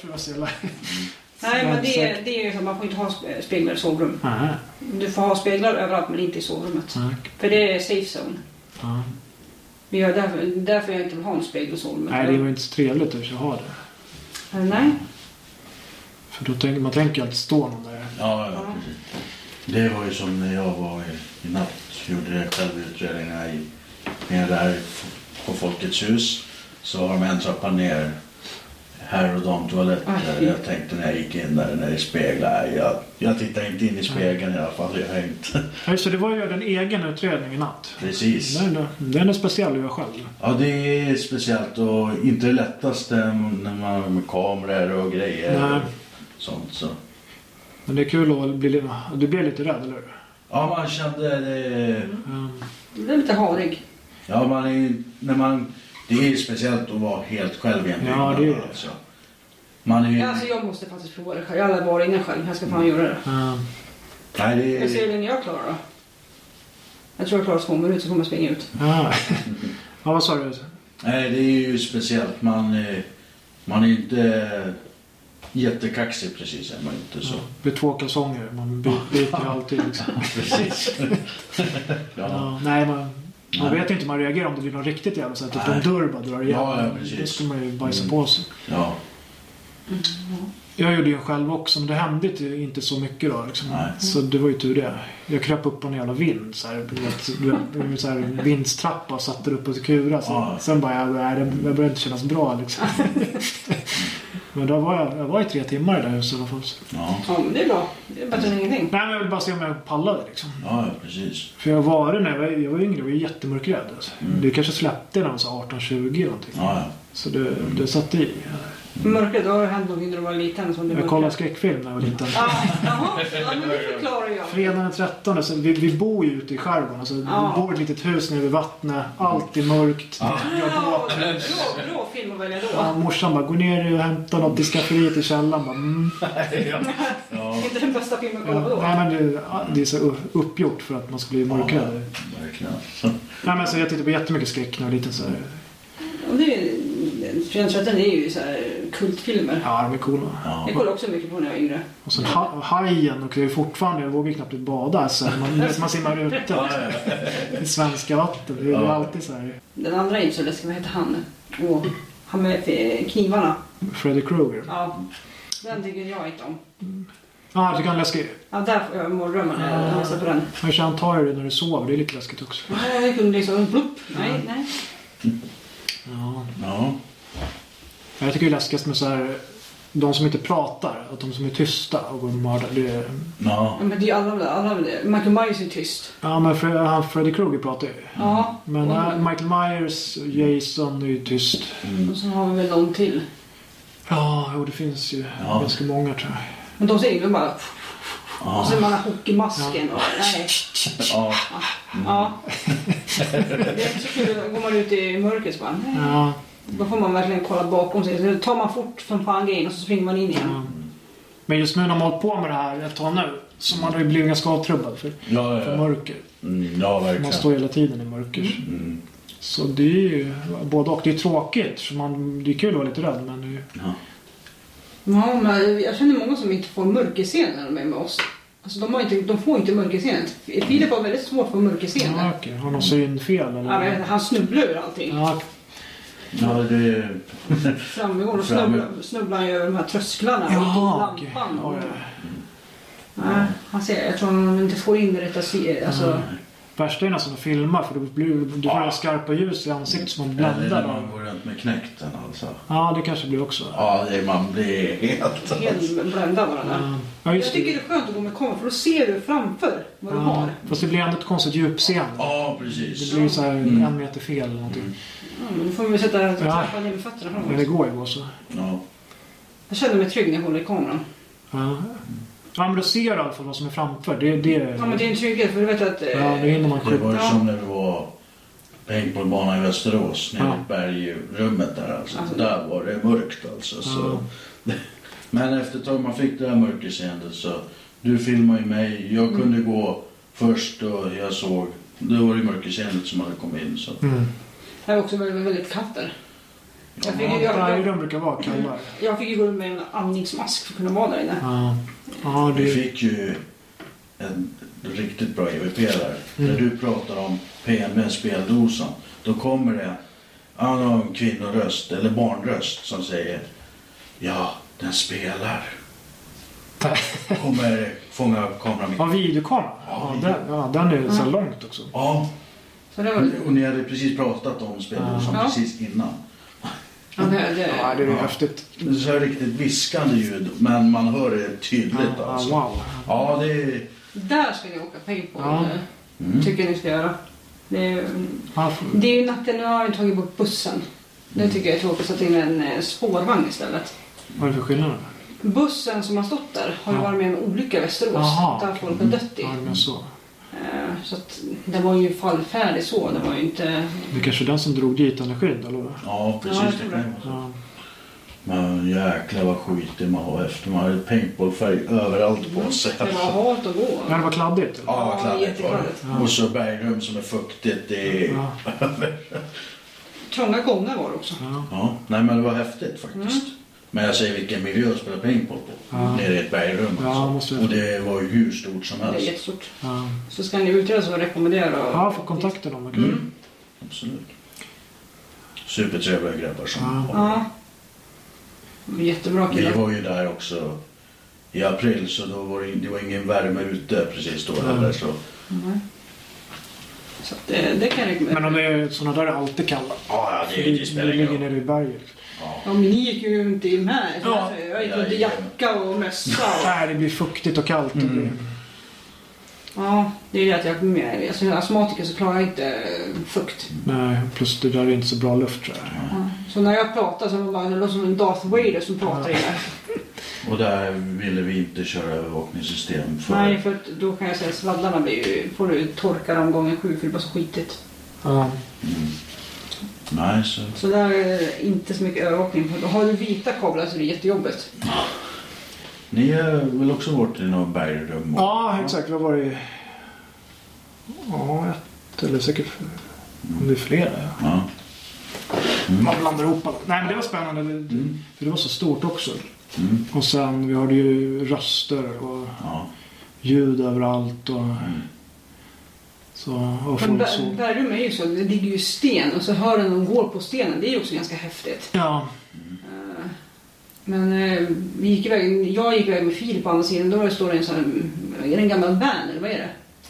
Speaker 1: var det så jävla...
Speaker 2: Nej, men det, är-
Speaker 1: Exakt.
Speaker 2: det är ju så. Man får inte ha spe- speglar i sovrum.
Speaker 1: Nej,
Speaker 2: Du får ha speglar överallt men inte i sovrummet.
Speaker 1: tack.
Speaker 2: För det är safe zone.
Speaker 1: Ja.
Speaker 2: Men jag, därför, därför jag inte vill ha en spegel i sovrummet.
Speaker 1: Nej, det var inte så trevligt i och för sig att ha det.
Speaker 2: Eh, Nej.
Speaker 1: För då tänker, man tänker ju alltid stå någon där.
Speaker 3: Ja, ja,
Speaker 2: Ja.
Speaker 3: precis. Det var ju som när jag var i, i natt, gjorde självutredningar i, nere där på Folkets hus. Så har de en trappa ner, här och de toaletter.
Speaker 2: Aj.
Speaker 3: Jag tänkte när jag gick in där, när det är speglar. Jag, jag tittade inte in i spegeln i alla fall, jag har inte.
Speaker 1: Nej, så det var ju en egen utredning i natt.
Speaker 3: Precis.
Speaker 1: Den är, den är speciell att göra själv.
Speaker 3: Ja, det är speciellt och inte det lättaste när man har med kameror och grejer
Speaker 1: Nej.
Speaker 3: och sånt. Så.
Speaker 1: Men det är kul att bli lite... Du blev lite rädd, eller hur?
Speaker 3: Ja, man kände det...
Speaker 2: Mm.
Speaker 1: Ehm,
Speaker 2: Du är lite harig.
Speaker 3: Ja, man är, när man, det är ju speciellt att vara helt själv i
Speaker 1: Ja,
Speaker 3: en byggnad.
Speaker 1: det är det.
Speaker 3: Alltså. Man är ju...
Speaker 2: Ja, Alltså jag måste faktiskt prova det själv. Jag har aldrig varit inne själv. Jag ska fan göra det.
Speaker 1: ehm,
Speaker 3: Nej, det
Speaker 2: Jag ser
Speaker 3: är...
Speaker 2: hur länge jag klarar då. Jag tror jag klarar två minuter så kommer jag springa ut.
Speaker 1: ja. ja, vad sa du?
Speaker 3: Nej, det är ju speciellt. Man, är- man är ju inte jättekaxig precis, är man inte så.
Speaker 1: Ja, det blir två kalsonger. Man by- byter alltid liksom.
Speaker 3: Precis. ja.
Speaker 1: Ja, nej, man, man
Speaker 3: Nej.
Speaker 1: vet ju inte hur man reagerar om det blir något riktigt jävla så här, Typ
Speaker 3: Nej.
Speaker 1: en dörr bara drar igen.
Speaker 3: Ja, ja, precis.
Speaker 1: Då skulle man ju bajsa
Speaker 3: Mm.
Speaker 1: på sig.
Speaker 3: ja.
Speaker 1: Jag gjorde ju en själv också, men det hände inte- inte så mycket då. Liksom.
Speaker 3: Nej.
Speaker 1: Så det var ju tur det. Jag kröp upp på en jävla vind. Så här, du vet, du vet, så här, vindstrappa och satte upp på kura. Sen,
Speaker 3: Ja.
Speaker 1: sen bara, jag, nej, det- jag började inte kännas bra liksom. men då var jag, jag var i tre timmar i det här huset i alla fall. Så-
Speaker 3: Ja.
Speaker 2: Ja, men det är bra. Det är bättre än ingenting.
Speaker 1: Nej, men jag ville bara se om jag pallade liksom.
Speaker 3: ja, ja, precis.
Speaker 1: För jag var det när jag var, jag var yngre, jag var ju jättemörkrädd. Alltså.
Speaker 3: Mm.
Speaker 1: Det kanske släppte när jag var så 18-20 eller någonting.
Speaker 3: Ja, ja.
Speaker 1: Så det, det satte i.
Speaker 2: Mörkret, då har det hänt någonting när du var liten som du
Speaker 1: Jag kollade skräckfilm när jag var liten.
Speaker 2: Ah, jaha, ja, men det förklarar jag.
Speaker 1: Fredagen den 13, så vi, vi bor ju ute i skärgården. Alltså,
Speaker 2: Ja.
Speaker 1: Vi bor i ett litet hus nere vid vattnet. Allt är mörkt.
Speaker 3: Ja.
Speaker 2: Ja, bra, bra Ah, film att välja
Speaker 1: Ja,
Speaker 2: då.
Speaker 1: morsan bara, gå ner och hämta något i skafferiet i källaren. Bara, mm.
Speaker 3: Ja,
Speaker 2: Inte den bästa filmen att kolla på
Speaker 1: ja, nej,
Speaker 2: då.
Speaker 1: men det, det är så u- uppgjort för att man ska bli mörkrädd.
Speaker 3: verkligen.
Speaker 1: Nej, men så jag tittade på jättemycket skräck när jag var liten. Så här,
Speaker 2: Och det är- Könsrätten är ju så här kultfilmer.
Speaker 1: ja, de är coola.
Speaker 3: Ja.
Speaker 2: Jag kollade också mycket på när jag var yngre.
Speaker 1: Och sen ha, hajen, och jag är fortfarande, jag vågar ju knappt bada. Så här, man, man simmar ute
Speaker 3: Ja, ja.
Speaker 1: i svenska vatten. Det är ju
Speaker 3: Ja.
Speaker 1: alltid så här.
Speaker 2: Den andra är inte så läskig. Vad hette han? Åh, han med eh, knivarna.
Speaker 1: Freddy Krueger.
Speaker 2: Ja, den tycker jag inte om.
Speaker 1: Ja, jag tycker han är läskig.
Speaker 2: Ja, där får jag mardrömmar när jag dansar på den.
Speaker 1: Men han tar ju det när du sover. Det är lite läskigt också.
Speaker 2: Nej, jag kunde liksom plupp. Nej, nej.
Speaker 1: Ja.
Speaker 3: ja.
Speaker 1: Jag tycker det är läskigast med så här, de som inte pratar, att de som är tysta och går och mördar. Det är,
Speaker 2: Ja,
Speaker 3: ja.
Speaker 2: Men det är ju alla väl alla väl det. Michael Myers är ju tyst.
Speaker 1: ja, men Fre- han Freddy Krueger pratar ju.
Speaker 2: Ja.
Speaker 1: Men
Speaker 2: och,
Speaker 1: äh, Michael Myers, Jason är ju tyst.
Speaker 3: Mm.
Speaker 2: och så har vi väl någon till.
Speaker 1: Ja, jo, det finns ju
Speaker 3: Ja.
Speaker 1: ganska många tror jag.
Speaker 2: Men de säger ju bara... Och
Speaker 3: ja.
Speaker 2: sen man har hockeymasken och... Nej.
Speaker 3: ja.
Speaker 2: Ja. Det är inte så kul. Då går man ut i mörkret så bara... Nej.
Speaker 1: Ja,
Speaker 2: Då får man verkligen kolla bakom sig. Så tar man fort som fan grejen och så springer man in igen.
Speaker 1: ja. Men just nu när man har hållit på med det här ett tag nu så man har ju blivit ganska avtrubbad för,
Speaker 3: Ja, ja,
Speaker 1: för
Speaker 3: ja.
Speaker 1: mörker.
Speaker 3: Mm, ja,
Speaker 1: Man
Speaker 3: verkligen.
Speaker 1: står hela tiden i mörker.
Speaker 3: Mm.
Speaker 1: Så det är ju både och. Det är tråkigt. Så man, det är kul att vara lite rädd men det är ju...
Speaker 3: Ja.
Speaker 2: Ja, men jag känner många som inte får mörkerscener när de är med oss. Alltså de, har inte, de får inte mörkerscener. Filip har väldigt svårt för mörkerscener.
Speaker 1: Ja, okej. Har någon synfel eller?
Speaker 2: Ja, men han snubblar över allting.
Speaker 1: Ja,
Speaker 3: Ja, det...
Speaker 2: Framgår och
Speaker 3: Framgår.
Speaker 2: snubblar, snubblar han ju över de här trösklarna och
Speaker 1: Jaha, okej.
Speaker 2: lampan.
Speaker 1: Ja, ja.
Speaker 2: Nej, han ser, jag tror han inte får in det rätta sy- alltså,
Speaker 1: Värsta är nästan att filma för du, blir, du får
Speaker 3: Ja.
Speaker 1: ja. skarpa ljus i ansiktet som man
Speaker 3: Eller
Speaker 1: bländar.
Speaker 3: när man
Speaker 1: av.
Speaker 3: går runt med knäkten alltså.
Speaker 1: Ja, det kanske blir också.
Speaker 3: Ja, det, man blir helt...
Speaker 2: helt blända varandra.
Speaker 1: Ja, ja
Speaker 2: Jag
Speaker 1: just
Speaker 2: tycker
Speaker 1: det.
Speaker 2: det är skönt att gå med kamera för då ser du framför vad du
Speaker 1: Ja,
Speaker 2: har.
Speaker 1: fast det blir ändå ett konstigt djupseende.
Speaker 3: Ja,
Speaker 1: Det
Speaker 3: precis.
Speaker 1: blir ju så här
Speaker 3: Mm.
Speaker 1: en meter fel eller någonting.
Speaker 2: Mm, då får man ju sätta
Speaker 1: Ja.
Speaker 2: trappan ner med fötterna
Speaker 3: Mm.
Speaker 1: Men det
Speaker 2: framåt.
Speaker 1: går ju då så.
Speaker 3: Ja.
Speaker 2: Jag känner mig trygg när jag håller i kameran.
Speaker 1: Ja. ja, men då ser du i alla fall vad som är framför. Det, det,
Speaker 2: Ja, men det är en trygghet för du vet att... eh,
Speaker 1: ja, då hinner man
Speaker 3: Det
Speaker 1: skjuta.
Speaker 3: var ju som när vi var paintballbana i Västerås, nere i bergrummet där alltså.
Speaker 2: Alltså.
Speaker 3: Där var det mörkt alltså. Så. Men efter ett tag man fick det här mörkerseendet så Du filmade ju mig. Jag
Speaker 2: Mm.
Speaker 3: kunde gå först och jag såg. Det var ju mörkerseende som hade kommit in. Så.
Speaker 1: Mm.
Speaker 2: Jag var eh, också väldigt, väldigt katter. Jag fick, ju-
Speaker 1: Ja,
Speaker 2: jag, jag,
Speaker 1: Prajorna brukar vara kallare.
Speaker 2: jag fick ju gå runt med en andningsmask för att kunna vara där inne.
Speaker 1: Ja, ja
Speaker 3: Vi
Speaker 1: det,
Speaker 3: fick ju en riktigt bra EVP där.
Speaker 1: Mm.
Speaker 3: När du pratar om PMS, speldosan, då kommer det ja, det var en kvinnoröst eller barnröst som säger Ja, den spelar. Kommer fånga upp kameran.
Speaker 1: ja videokamera.
Speaker 3: Ja,
Speaker 1: Ja,
Speaker 3: video.
Speaker 1: den, ja, den är
Speaker 2: Mm.
Speaker 1: så här långt också.
Speaker 3: Ja,
Speaker 2: Så det var
Speaker 1: Mm.
Speaker 3: och ni hade precis pratat om speldosan
Speaker 2: Ja.
Speaker 3: precis innan.
Speaker 2: ja, det, det,
Speaker 1: Ja, det är
Speaker 3: Ja.
Speaker 1: häftigt.
Speaker 3: Det är så här riktigt viskande ljud, men man hör det tydligt
Speaker 1: Ja,
Speaker 3: alltså.
Speaker 1: wow.
Speaker 3: Ja, det är...
Speaker 2: Där ska ni åka paintball.
Speaker 1: Ja.
Speaker 3: Mm.
Speaker 2: Tycker ni ska göra. Det är,
Speaker 1: Ja, f-
Speaker 2: Det är ju natten, nu har jag tagit bort bussen. Det
Speaker 3: Mm.
Speaker 2: tycker jag är tråkigt, satt in en eh, spårvagn istället.
Speaker 1: Vad är det för skillnad?
Speaker 2: Bussen som har stått där har ju
Speaker 1: Ja.
Speaker 2: varit med om olycka i Västerås
Speaker 1: Jaha.
Speaker 2: där folk har dött i.
Speaker 1: Ja, men så.
Speaker 2: Eh, Så att den var ju fallfärdig så, den var ju inte...
Speaker 1: Det är kanske är den som drog dit energin, eller? vad?
Speaker 3: Ja,
Speaker 2: Ja, jag
Speaker 3: precis.
Speaker 2: tror
Speaker 3: det
Speaker 2: det.
Speaker 3: kan jag
Speaker 1: Ja.
Speaker 3: Men jäklar vad skitig man var efter. Man hade paintballfärg överallt
Speaker 2: Mm.
Speaker 3: på sig.
Speaker 2: Det var halt att gå.
Speaker 1: Ja, det var kladdigt. eller?
Speaker 3: Ja, kladdigt var
Speaker 2: jättekladdigt.
Speaker 1: Ja.
Speaker 3: det. Och så bergrum som är fuktigt. Det är...
Speaker 1: Ja.
Speaker 2: Trånga gångar var det också.
Speaker 1: Ja.
Speaker 3: Ja, nej men det var häftigt faktiskt.
Speaker 2: Mm.
Speaker 3: Men jag säger vilken miljö att spela paintball på.
Speaker 1: Ja.
Speaker 3: Nere i ett bergrum
Speaker 1: Ja, måste
Speaker 3: alltså.
Speaker 1: jag-
Speaker 3: Och det var ju hur stort som
Speaker 2: Det är
Speaker 3: helst.
Speaker 2: jättestort.
Speaker 1: Ja.
Speaker 2: Så ska ni utreda så rekommenderar jag...
Speaker 1: Ja, får kontakta dem. okej.
Speaker 3: Mm. Absolut. Supertrevliga grabbar som
Speaker 1: Ja.
Speaker 2: Ja. De är Jättebra
Speaker 3: Vi
Speaker 2: killar.
Speaker 3: var ju där också i april så då var det, det var ingen värme ute precis då
Speaker 1: Mm.
Speaker 3: heller. Så.
Speaker 2: Mm. Så att det, det kan jag rekommendera.
Speaker 1: Men de är sådana där är alltid kalla.
Speaker 3: Ja, ja,
Speaker 1: För
Speaker 3: det, det
Speaker 1: det
Speaker 3: spelar ingen
Speaker 1: ligger
Speaker 3: roll.
Speaker 1: nere i berget.
Speaker 3: Ja.
Speaker 2: Ja, men ni gick ju inte in med.
Speaker 1: Ja.
Speaker 2: Alltså, jag gick runt i
Speaker 3: Ja,
Speaker 2: jacka och mössa. Och...
Speaker 1: Nej, det blir fuktigt och kallt.
Speaker 3: Mm.
Speaker 1: Mm.
Speaker 2: Ja, det är det att jag är med. Alltså, jag är astmatiker så klarar jag inte eh, fukt.
Speaker 1: Nej, plus det där är inte så bra luft tror jag.
Speaker 2: Ja. Så när jag pratar så är det bara, det låter som en Darth Vader som pratar i det.
Speaker 3: Och där ville vi inte köra övervakningssystem för
Speaker 2: Nej, för att då kan jag säga att sladdarna blir ju, får du torka dem gånger sju för det är bara så skitigt.
Speaker 1: Ja.
Speaker 3: Mm. Nej, så...
Speaker 2: Så där är det inte så mycket övervakning. För då har du vita kablar så det är jättejobbigt.
Speaker 3: Ni har väl också varit i några bergrum? och-
Speaker 1: ja, exakt. Vad var det? Ja, ett eller säkert om det är flera. ja.
Speaker 3: Ja.
Speaker 1: Man blandar ihop alla. Nej, men det var spännande. Det-
Speaker 3: Mm.
Speaker 1: För det var så stort också.
Speaker 3: Mm.
Speaker 1: Och sen, vi hörde ju röster och
Speaker 3: Ja.
Speaker 1: ljud överallt och så. Och
Speaker 2: Men
Speaker 1: folk
Speaker 2: bär-
Speaker 1: såg.
Speaker 2: bergrum är ju så, det ligger ju sten och så hör du någon går på stenen. Det är ju också ganska häftigt.
Speaker 1: Ja,
Speaker 2: Eh, Men eh, vi gick iväg, jag gick iväg med Filip på andra sidan. Då står det en sån här, är det en gammal van eller vad är det?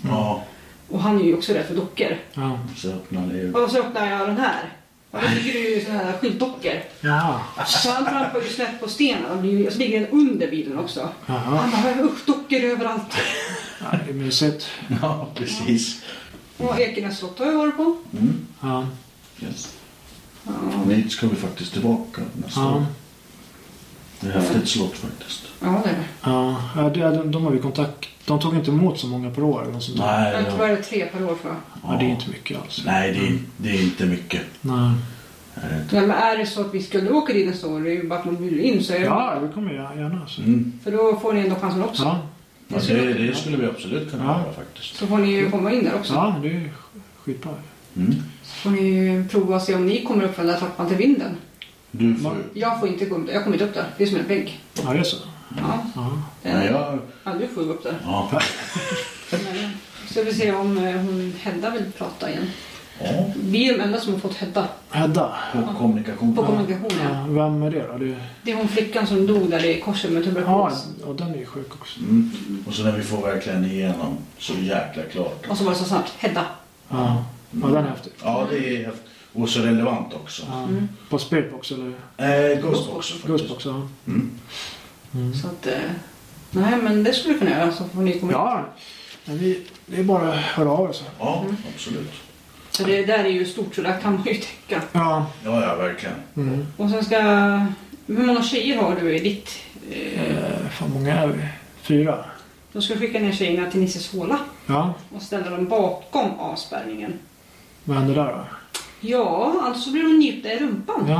Speaker 3: ja,
Speaker 2: Och han är ju också rädd för dockor.
Speaker 1: ja.
Speaker 3: så öppnade det.
Speaker 2: Och så öppnar jag den här. Och då ligger det ju sådana här skyltdockor.
Speaker 1: Jaha.
Speaker 2: Så han trampar ju snett på stenen. Och det är ju- så ligger den under bilen också.
Speaker 1: Jaha.
Speaker 2: Han bara, usch dockor överallt.
Speaker 1: Ja, det är mysigt.
Speaker 3: Ja, precis.
Speaker 2: Och Ekenäs slott har jag varit på.
Speaker 3: Mm.
Speaker 1: Ja.
Speaker 3: Yes.
Speaker 2: Ja,
Speaker 3: Dit ska vi faktiskt tillbaka nästa år.
Speaker 1: Ja.
Speaker 3: Det är häftigt slott faktiskt.
Speaker 2: ja det är det.
Speaker 1: Ja, ja det, de, de har vi kontakt. De tog inte emot så många per år eller något sånt där.
Speaker 3: Nej,
Speaker 2: Jag tror
Speaker 3: ja.
Speaker 2: det är tre per år tror jag.
Speaker 1: Ja, det är inte mycket alls. Mm.
Speaker 3: Nej det, är, det är inte mycket. Eh,
Speaker 1: Nej.
Speaker 3: Är det inte?
Speaker 2: Nej, men är det så att vi skulle åka dit nästa år, det är ju bara att man bjuder in så är det,
Speaker 1: Ja, det kommer jag gärna. Så.
Speaker 3: Mm.
Speaker 2: För då får ni ändå chansen också.
Speaker 1: Ja.
Speaker 3: Ja, det, det skulle vi absolut kunna
Speaker 1: Ja.
Speaker 3: göra faktiskt.
Speaker 2: Så får ni ju komma in där också.
Speaker 1: ja, det är sk- skitbra.
Speaker 3: Mm.
Speaker 2: Så får ni ju prova och se om ni kommer upp för den där trappan till vinden.
Speaker 3: Du får ju...
Speaker 2: Jag får inte gå upp där. Jag kommer inte upp där. Det är som en vägg.
Speaker 1: Ja, det är så.
Speaker 2: Ja,
Speaker 1: Ja.
Speaker 3: Nej, jag...
Speaker 2: ja du får gå upp där.
Speaker 3: Ja.
Speaker 2: Men, Så vi ser om eh, hon Hedda vill prata igen.
Speaker 3: ja.
Speaker 2: Vi är de enda som har fått Hedda
Speaker 1: Hedda.
Speaker 3: På kommunikation.
Speaker 2: på kommunikationen.
Speaker 1: Ja, vem är det då? Det...
Speaker 2: Det är hon flickan som dog där i korset med
Speaker 1: Ja,
Speaker 2: tuberkulos.
Speaker 1: ja, den är ju sjuk också.
Speaker 3: Mm. Och så när vi får verkligen igenom så jäkla klart.
Speaker 2: Och så var det så snabbt. Hedda.
Speaker 1: Ja, ja den är häftig.
Speaker 3: Ja, det är häftigt. Och så relevant också.
Speaker 1: Ja. På Spiritbox eller
Speaker 3: Eh, Ghostbox faktiskt.
Speaker 1: Ghostbox? Ja.
Speaker 3: Mm.
Speaker 2: Så att... eh, Nej, men det skulle vi kunna göra. Så får ni komma in.
Speaker 1: ja. Men vi, det är bara att höra av sig.
Speaker 3: Ja,
Speaker 2: Mm.
Speaker 3: absolut.
Speaker 2: Så det där är ju stort, så där kan man ju täcka.
Speaker 1: Ja.
Speaker 3: Ja, ja, verkligen.
Speaker 1: Mm.
Speaker 2: Och sen ska... Hur många tjejer har du i ditt... Eh,
Speaker 1: Eh, fan, många är vi? Fyra?
Speaker 2: då ska vi skicka ner tjejerna till Nisses håla.
Speaker 1: Ja.
Speaker 2: och ställa dem bakom avspärrningen.
Speaker 1: Vad händer där då?
Speaker 2: Ja, alltså blir de nypta i rumpan.
Speaker 1: Ja,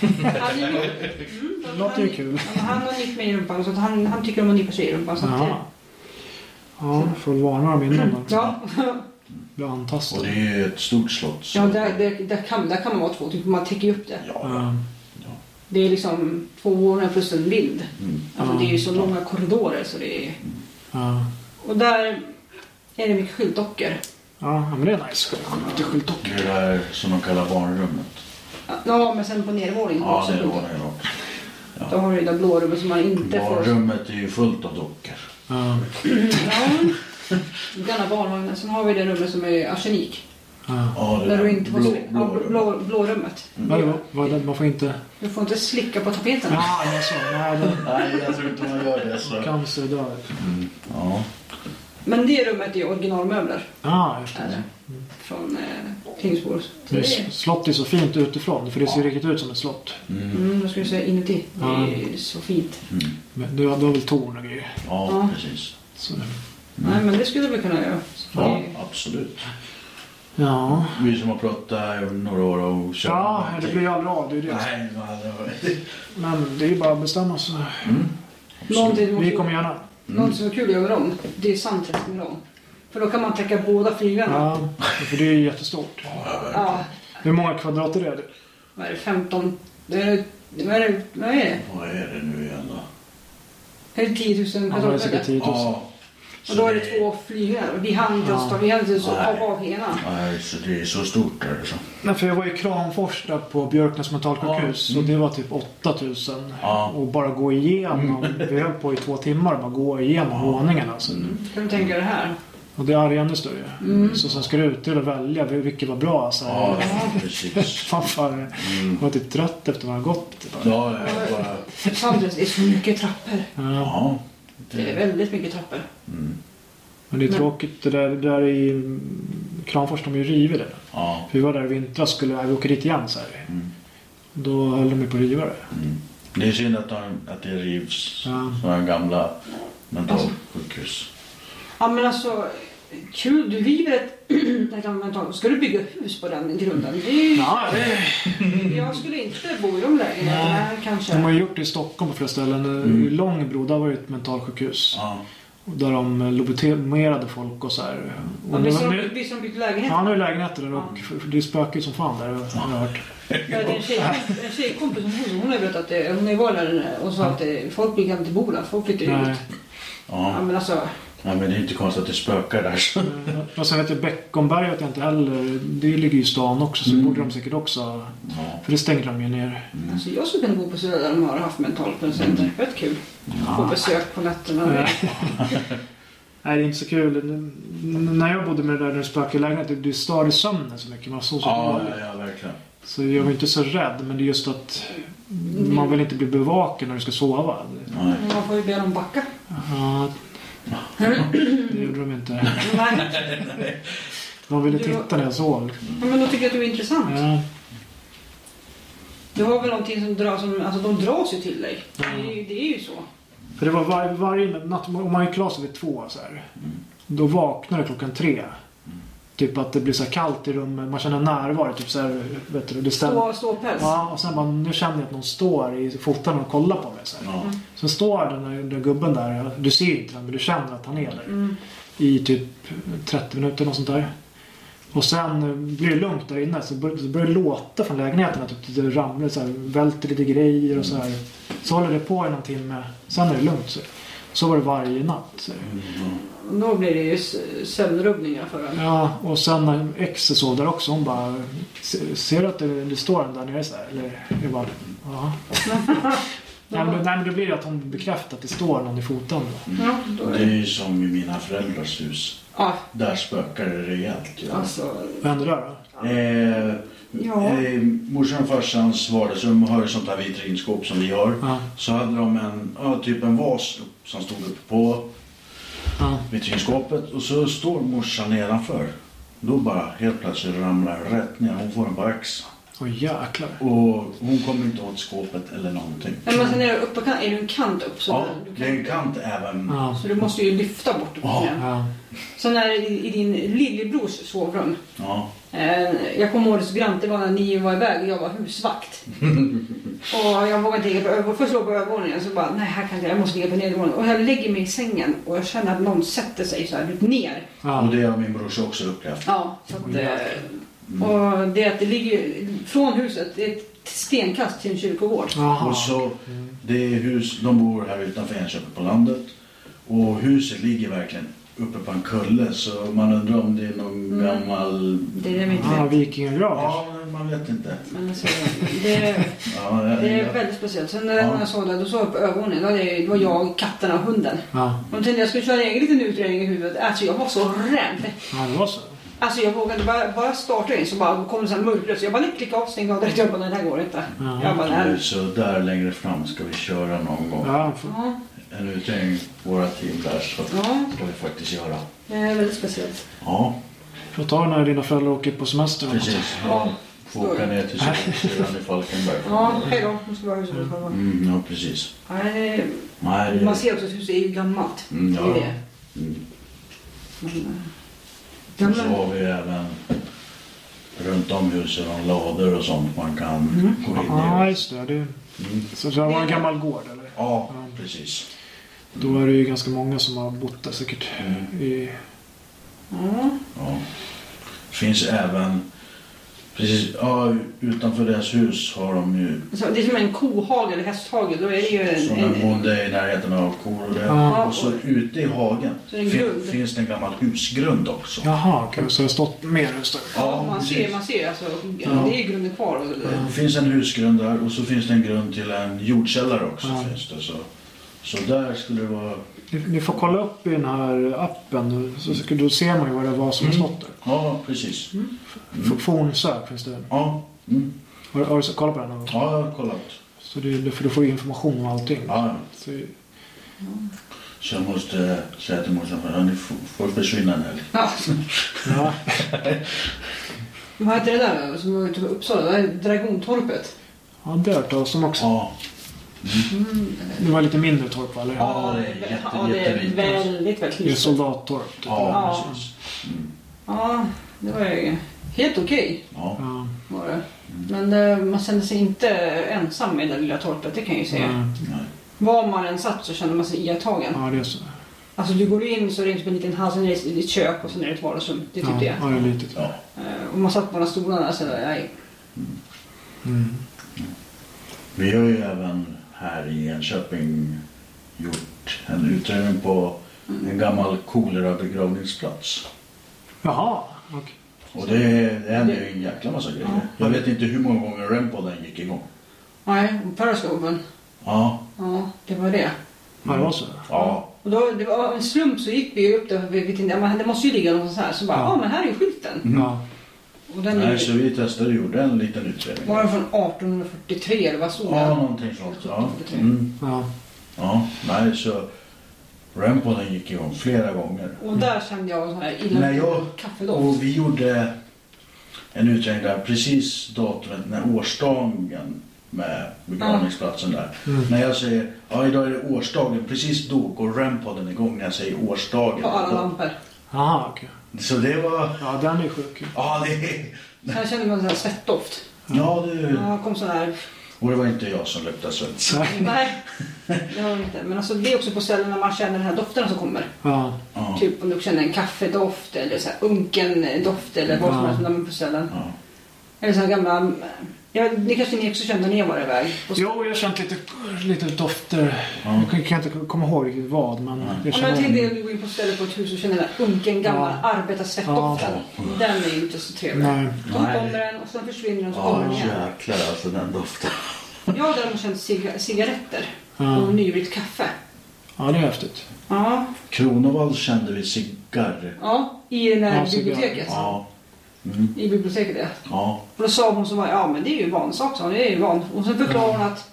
Speaker 2: Han, är ju- mm,
Speaker 1: det låter ju kul.
Speaker 2: han, han har nypt mig i rumpan så att han, han tycker om att nypa sig i rumpan. Så att,
Speaker 1: Ja.
Speaker 2: eh,
Speaker 1: Ja, får väl varna dem innan då.
Speaker 2: Ja,
Speaker 1: Blir
Speaker 3: Och det
Speaker 1: antastade.
Speaker 3: är ju ett stort slott. så-
Speaker 2: ja där, där, där, kan, där kan man vara två typ, man täcker ju upp det.
Speaker 3: Ja.
Speaker 1: Ja.
Speaker 2: Det är liksom två våningar plus en vind.
Speaker 3: Mm.
Speaker 2: Alltså, det är ju så långa korridorer så det är...
Speaker 1: Ja.
Speaker 2: Och där är det mycket skyltdockor.
Speaker 1: ja, men det är nice. Lite skyltdockor.
Speaker 3: Det är det här som de kallar barnrummet.
Speaker 2: Ja, men sen på nedervåningen
Speaker 3: Ja,
Speaker 2: också
Speaker 3: det
Speaker 2: skyltdockor.
Speaker 3: var det
Speaker 2: Då
Speaker 3: också.
Speaker 2: har du det där blå rummet som man inte får...
Speaker 3: Barnrummet är ju fullt av dockor.
Speaker 1: Ja.
Speaker 2: Ja. Denna barnvagnen. Sen har vi det rummet som är arsenik.
Speaker 1: Ja.
Speaker 3: Ja, det
Speaker 2: Där du inte får
Speaker 3: blå,
Speaker 2: sli-
Speaker 3: blå,
Speaker 2: ja,
Speaker 3: rummet.
Speaker 2: blå, blå rummet.
Speaker 1: Vad Mm. det var- vad det- Man får inte...
Speaker 2: Du får inte slicka på tapeten.
Speaker 1: Ja, det är så. Nej, det
Speaker 3: Nej, jag tror inte man gör det.
Speaker 1: är
Speaker 3: Så. Mm.
Speaker 1: cancer dör.
Speaker 3: Ja.
Speaker 2: Men det rummet är originalmöbler.
Speaker 1: Ja, just
Speaker 2: Är
Speaker 1: det.
Speaker 2: det. Från eh, Tingsbor. Så
Speaker 1: det
Speaker 2: det
Speaker 1: är,
Speaker 2: är-
Speaker 1: slott är så fint utifrån, för det ser riktigt ut som ett slott.
Speaker 2: Mm, då ska jag säga inuti. Det är
Speaker 1: Ja.
Speaker 2: så fint.
Speaker 1: Men du, har- du har väl torn och grejer?
Speaker 3: Mm. ja,
Speaker 2: Ja.
Speaker 3: precis.
Speaker 1: Så, Mm.
Speaker 2: Nej, men det skulle vi kunna göra. Så får
Speaker 3: Ja,
Speaker 2: vi-
Speaker 3: absolut.
Speaker 1: ja.
Speaker 3: Vi som har pratat i några år och kört.
Speaker 1: Ja, det blir ju aldrig av. Det är ju det.
Speaker 3: Nej, vad det Mm. var...
Speaker 1: Men det är ju bara att bestämma sig.
Speaker 2: Någonting måste-
Speaker 1: Vi kommer Mm. göra.
Speaker 2: Något som är kul att göra om, det är Suntrest med dem. För då kan man täcka båda flyglarna.
Speaker 1: Ja, för det är ju jättestort.
Speaker 2: Ja.
Speaker 1: Hur många kvadrat är det?
Speaker 2: Vad är det, 15? Det är, vad, är det, vad är det?
Speaker 3: Vad är det nu igen då?
Speaker 2: Är det 10 000
Speaker 1: Ja, det är säkert
Speaker 2: kvadratmeter?
Speaker 1: 10 000.
Speaker 2: Och då är
Speaker 3: Så
Speaker 2: det två flyglar. Vi hann inte ens ta, vi hann inte ens
Speaker 3: Nej.
Speaker 2: ta av ena.
Speaker 3: Nej, så det är så stort där liksom. så.
Speaker 1: Nej, för jag var i Kramfors där på Björknäs mentalsjukhus
Speaker 3: Ja, mm.
Speaker 1: och det var typ 8000.
Speaker 3: Ja. Mm.
Speaker 1: Och bara gå igenom. Vi höll på i två timmar bara gå igenom våningarna. Alltså.
Speaker 2: Kan du tänka dig det här?
Speaker 1: Och det är arg ännu större. Så sen ska du ut till och välja vil- vilket var bra. Alltså.
Speaker 3: Ja, precis. Mm.
Speaker 1: Fan, fan. Jag var typ trött efter man har gått.
Speaker 3: Ja, jag bara...
Speaker 2: Suntrest är så mycket trappor.
Speaker 1: Ja.
Speaker 3: Ja.
Speaker 2: Det är
Speaker 3: Det... Mm.
Speaker 2: väldigt mycket trappor.
Speaker 1: Men det är
Speaker 2: Men-
Speaker 1: tråkigt. Det där, det där i Kramfors, de har ju rivit det.
Speaker 3: Ja. Mm.
Speaker 1: Vi var där i vintras skulle nej, vi åker dit igen så här. Då höll de ju på att riva det.
Speaker 3: Det är synd att, de, att det rivs
Speaker 1: Ja.
Speaker 3: sådana gamla mentalsjukhus.
Speaker 2: Ja men alltså, kul. Du river ett... ett mentalt- Ska du bygga hus på den grunden? Det är, ju-
Speaker 1: Ja, det
Speaker 2: jag skulle inte bo i de lägenheterna kanske.
Speaker 1: De har ju gjort det i Stockholm på flera ställen. I Långbro, där var det ett mentalsjukhus.
Speaker 3: Ja.
Speaker 1: Och Där de lobotomerade folk och så här.
Speaker 2: Ja,
Speaker 1: Och nu,
Speaker 2: Visst har de-
Speaker 1: nu,
Speaker 2: visst har de byggt lägenheter?
Speaker 1: ja, nu är det lägenheter där och f- det är spökigt som fan där har jag hört.
Speaker 2: Jag hade en, tjejkompis, en tjejkompis som bor där, hon har berättat att det, hon är var där och sa att det, folk brukar inte bo där, folk flyttar
Speaker 1: Nej.
Speaker 2: ut. Ja
Speaker 3: Ja.
Speaker 2: men alltså,
Speaker 3: ja, men det är inte konstigt att det spökar där. Så.
Speaker 1: Och sen vet jag Beckomberg vet jag inte heller. Det ligger ju i stan också så det borde de säkert också.
Speaker 3: Ja.
Speaker 1: För det stängde de ju ner.
Speaker 3: mm.
Speaker 2: alltså jag skulle kunna bo på Söder där de har haft mentalpatienter. Fett kul. Få besök på nätterna.
Speaker 1: Nej, det är inte så kul. N- n- när jag bodde med det där när det spökade i lägenheten, du stör i sömnen så mycket. Man sov så
Speaker 3: Ja,
Speaker 1: dåligt.
Speaker 3: ja, ja, verkligen.
Speaker 1: Så jag var inte så rädd, men det är just att man vill inte bli bevaken när du ska sova.
Speaker 3: Nej.
Speaker 2: Men Man får ju be dem backa.
Speaker 1: Ja, det gjorde de inte.
Speaker 2: Nej,
Speaker 1: De ville
Speaker 2: Du-
Speaker 1: titta när jag sov.
Speaker 2: men då tycker jag att du är intressant.
Speaker 1: Ja,
Speaker 2: Du har väl någonting som dras, som, alltså de dras ju till dig. Det är, ju- det är ju så.
Speaker 1: för det var var, varje natt, om man gick klar sig vid två så här, då vaknade jag klockan tre. Typ att det blir så här kallt i rummet, man känner närvaro. Typ så här, vet du, det ställer...
Speaker 2: Stå, ståpäls.
Speaker 1: Ja, och sen bara, nu känner jag att någon står i fotan och kollar på mig. Så här.
Speaker 3: Ja.
Speaker 1: Sen står den där, den där gubben där, du ser ju inte den men du känner att han är där.
Speaker 2: Mm.
Speaker 1: I typ 30 minuter och sånt där. Och sen eh, blir det lugnt där inne så bör- så börjar det låta från lägenheten. Typ det ramlar så här, välter lite grejer och så här. Så håller det på i någon timme. Sen är det lugnt. Så, så var det varje natt. Så.
Speaker 3: Mm.
Speaker 2: Och Då blir det ju s- sömnrubbningar för en.
Speaker 1: Ja, och sen när exet sov där också. Hon bara, "Se- ser du att det, det står en där nere så här? Eller jag bara, ja. nej, men, nej men det blir ju att hon bekräftar att det står någon i foten. Då.
Speaker 2: Ja, då är
Speaker 3: Det är ju som i mina föräldrars hus.
Speaker 2: Ja,
Speaker 3: Där spökar det rejält. Ja.
Speaker 2: alltså.
Speaker 1: Vad hände där då?
Speaker 3: Eh,
Speaker 2: Ja.
Speaker 3: eh, morsan och farsans vardagsrum har ju sånt där vitrinskåp som vi har.
Speaker 1: Ja.
Speaker 3: Så hade de en, ja, typ en vas upp- som stod uppe på
Speaker 1: Ja.
Speaker 3: vitrinskåpet och så står morsan nedanför. Då bara helt plötsligt ramlar det rätt ner. Hon får en på axeln.
Speaker 1: Åh jäklar.
Speaker 3: Och hon kommer inte åt skåpet eller någonting.
Speaker 2: Nej, men sen är det uppe kan, är det en kant upp så,
Speaker 3: Ja,
Speaker 2: där, du
Speaker 3: det
Speaker 2: kan,
Speaker 3: är en kant även.
Speaker 1: Ja.
Speaker 2: så du måste ju lyfta bort det.
Speaker 3: Ja.
Speaker 2: Ja.
Speaker 1: Ja.
Speaker 2: Sen är det i, i din lillebrors sovrum.
Speaker 3: Ja,
Speaker 2: Eh, Jag kommer ihåg det så grant, det var när ni var iväg och jag var husvakt. och jag vågade inte ligga på övervåningen. Först låg jag på övervåningen så bara, nej här kan jag, inte, jag måste ligga på nedervåningen. Och jag lägger mig i sängen och jag känner att någon sätter sig så här typ ner.
Speaker 1: Ja.
Speaker 3: Och det har min brorsa också upplevt.
Speaker 2: Ja, så att, eh,
Speaker 3: Mm.
Speaker 2: och det är att det ligger ju från huset, det är ett stenkast till en kyrkogård.
Speaker 1: Aha.
Speaker 3: Och så, det är hus, de bor här utanför Enköping på landet. Och huset ligger verkligen uppe på en kulle så man undrar om det är någon
Speaker 2: Mm.
Speaker 3: gammal...
Speaker 2: Det är det vi inte
Speaker 1: Ah,
Speaker 2: vet.
Speaker 1: vikingagrav kanske.
Speaker 3: Ja, men man vet inte.
Speaker 2: Men alltså, det,
Speaker 3: Ja, jag-
Speaker 2: det är
Speaker 3: jag-
Speaker 2: väldigt speciellt. Sen när
Speaker 3: Ja.
Speaker 2: jag såg det, då såg jag på övervåningen, då hade jag ju- det var jag, katterna och hunden.
Speaker 1: Ja.
Speaker 2: Och tänkte jag skulle köra en egen liten utredning i huvudet. Alltså jag var så rädd.
Speaker 1: ja, det var så.
Speaker 2: Alltså jag vågade bara, bara starta in så bara kom det så här mörkröst. Jag bara nej, klicka av stängde av direkt. Jag bara nej, det här går inte.
Speaker 1: Ja.
Speaker 2: Jag bara
Speaker 3: Nu,
Speaker 2: nej.
Speaker 3: Så där längre fram ska vi köra någon gång.
Speaker 1: Ja, för...
Speaker 2: Ja,
Speaker 3: En utredning, våra team där, så
Speaker 2: ja,
Speaker 3: ska vi faktiskt göra.
Speaker 2: det är väldigt speciellt.
Speaker 3: Ja,
Speaker 1: Får ta när dina föräldrar åker på semester. eller något.
Speaker 3: precis. Ja. Får åka ner till Södertälje i Falkenberg.
Speaker 2: Ja, hej då. Nu ska vi ha huset i alla fall.
Speaker 3: Mm, ja, precis.
Speaker 2: Nej,
Speaker 3: Nej,
Speaker 2: Man
Speaker 3: det-
Speaker 2: ser också att huset är ju gammalt.
Speaker 3: Mm,
Speaker 2: Det är
Speaker 3: ja.
Speaker 2: det.
Speaker 3: Mm.
Speaker 2: Men, eh,
Speaker 3: Och så
Speaker 2: gamla-
Speaker 3: har vi även runt om husen och lador och sånt man kan gå in i.
Speaker 1: Ja, just det. det...
Speaker 3: Mm.
Speaker 1: Så det var en gammal gård eller?
Speaker 3: Ja, precis.
Speaker 1: Då är det ju ganska många som har bott där säkert.
Speaker 3: Mm.
Speaker 1: I...
Speaker 2: Ja,
Speaker 3: Ja. Finns även, precis, ja, utanför deras hus har de ju
Speaker 2: så det är som en kohage eller hästhage. Då är det ju en...
Speaker 3: Som en
Speaker 2: en
Speaker 3: bonde i närheten av kor och det.
Speaker 1: Ja.
Speaker 3: Och så ute i hagen
Speaker 2: Så det är en
Speaker 3: fin-
Speaker 2: grund.
Speaker 3: finns det en gammal husgrund också.
Speaker 1: Jaha, okej. Så det har stått mer hus där?
Speaker 2: ja, man ser,
Speaker 3: precis.
Speaker 2: man ser alltså. Det
Speaker 3: Ja.
Speaker 2: är ju grunden kvar. Och,
Speaker 3: Det finns en husgrund där och så finns det en grund till en jordkällare också.
Speaker 1: Ja.
Speaker 3: Finns det, så. så där skulle det vara...
Speaker 1: Ni, ni får kolla upp i den här appen. Så, så, då ser man ju vad det var som har
Speaker 3: Mm.
Speaker 1: stått där.
Speaker 3: Ja, precis. Mm.
Speaker 1: F- Fornsök finns det.
Speaker 3: Ja, mm.
Speaker 1: Har, har du kollat på den? någon gång?
Speaker 3: ja jag har kollat.
Speaker 1: Så det, det- för du får ju information om allting.
Speaker 3: Ja, ja.
Speaker 1: Så,
Speaker 3: så jag måste säga till morsan att ni får- får försvinna en helg.
Speaker 2: ja.
Speaker 1: ja.
Speaker 2: Vad heter det där som var ute på Uppsala? Det där Dragontorpet.
Speaker 1: ja, det har jag hört talas om också.
Speaker 3: Ja,
Speaker 1: Det var lite mindre torp va? Eller?
Speaker 3: Ja, det är
Speaker 2: Mm.
Speaker 3: jätte- alltså.
Speaker 2: ja, det är
Speaker 3: jättelikt.
Speaker 2: väldigt, väldigt
Speaker 1: Det är
Speaker 2: litet.
Speaker 1: soldattorp. Typ.
Speaker 3: ja
Speaker 2: Ja.
Speaker 3: precis.
Speaker 2: Ja, det var ju helt okej.
Speaker 3: Ja.
Speaker 1: Ja.
Speaker 2: var det.
Speaker 3: Mm.
Speaker 2: Men eh, man kände sig inte ensam i det lilla torpet, det kan jag ju
Speaker 3: Mm.
Speaker 2: säga.
Speaker 1: Ja.
Speaker 3: Nej.
Speaker 2: Var man än satt så kände man sig iakttagen.
Speaker 3: Mm.
Speaker 1: ja, det är så.
Speaker 2: Alltså du går in så är det typ en liten hall, sen är det ett kök och sen är det ett vardagsrum. Det är typ
Speaker 3: Mm.
Speaker 1: Ja,
Speaker 2: det.
Speaker 1: ja, det är litet.
Speaker 3: Ja.
Speaker 2: Eh, Och man satt på de stolarna så nej.
Speaker 1: Mm.
Speaker 3: Vi har ju även här i Enköping gjort en utredning på en gammal kolera-begravningsplats.
Speaker 1: Jaha, okej.
Speaker 3: Och det, det hände ju en jäkla massa grejer. Jag vet inte hur många gånger Rempodden gick igång.
Speaker 2: Nej, och periscopen.
Speaker 3: Ja,
Speaker 2: Ja, det var det.
Speaker 1: Ja, det var så.
Speaker 3: ja,
Speaker 2: Och då, det var av en slump så gick vi ju upp där för vi vi tänkte, ja, men det måste ju ligga någonstans här. Så bara, ja
Speaker 1: Ja.
Speaker 2: men här är ju skylten.
Speaker 1: Ja.
Speaker 2: Och den är
Speaker 3: Nej,
Speaker 2: ju-
Speaker 3: så vi testade och gjorde en liten utredning.
Speaker 2: Var den
Speaker 3: Ja,
Speaker 2: från 1843 eller vad stod det?
Speaker 3: någonting sånt. Ja, mm.
Speaker 1: Ja.
Speaker 3: ja nej, så Rempodden gick igång flera gånger.
Speaker 2: Och där kände jag så här illa
Speaker 3: Nej, jag-
Speaker 2: kaffedoft.
Speaker 3: Och vi gjorde en utredning där precis datumet när årsdagen med begravningsplatsen där.
Speaker 1: Mm.
Speaker 3: När jag säger ja idag är det årsdagen, precis då går rampodden igång när jag säger årsdagen.
Speaker 2: På alla lampor.
Speaker 1: Jaha, okej.
Speaker 3: Så det var,
Speaker 1: Ja, den är sjuk.
Speaker 3: ja det,
Speaker 2: Sen kände man så här svettdoft.
Speaker 3: ja det,
Speaker 2: Ja, kom så här.
Speaker 3: och det var inte jag som luktade svett.
Speaker 2: Nej, det var det inte. Men alltså, det är också på ställen när man känner den här doften som kommer.
Speaker 1: Ja.
Speaker 3: Ja,
Speaker 2: Typ om du känner en kaffedoft eller så här unken doft eller vad som
Speaker 1: Ja.
Speaker 2: helst när man är på ställen.
Speaker 3: ja.
Speaker 2: Eller så här gamla... Ja, det kanske ni också kände när ni var iväg? Och så-
Speaker 1: Jo, jag har känt lite, lite dofter.
Speaker 3: Ja.
Speaker 1: Jag kan- kan inte komma ihåg riktigt vad, men
Speaker 3: Nej.
Speaker 1: jag
Speaker 2: Ja, men
Speaker 1: känner...
Speaker 2: till det om du går in på stället på ett hus och känner den där unken gamla
Speaker 1: Ja.
Speaker 2: arbetarsvettdoften.
Speaker 3: Ja.
Speaker 2: Den är ju inte så trevlig.
Speaker 1: Nej.
Speaker 2: Då
Speaker 3: Nej.
Speaker 2: kommer den och sen försvinner den och så kommer
Speaker 3: Ja
Speaker 2: den igen.
Speaker 3: jäklar alltså den doften.
Speaker 2: Jag har däremot känt ciga- cigaretter
Speaker 1: Ja.
Speaker 2: och nybryggt kaffe.
Speaker 1: Ja, det är häftigt.
Speaker 2: Ja,
Speaker 3: Kronovall kände vi cigarr.
Speaker 2: ja i den här
Speaker 1: Ja, cigarr.
Speaker 2: biblioteket.
Speaker 3: Ja. Mm.
Speaker 2: I biblioteket ja.
Speaker 3: Ja.
Speaker 2: Och då sa hon så bara, ja men det är ju vansak sa hon, det är ju van. Och sen förklarade hon att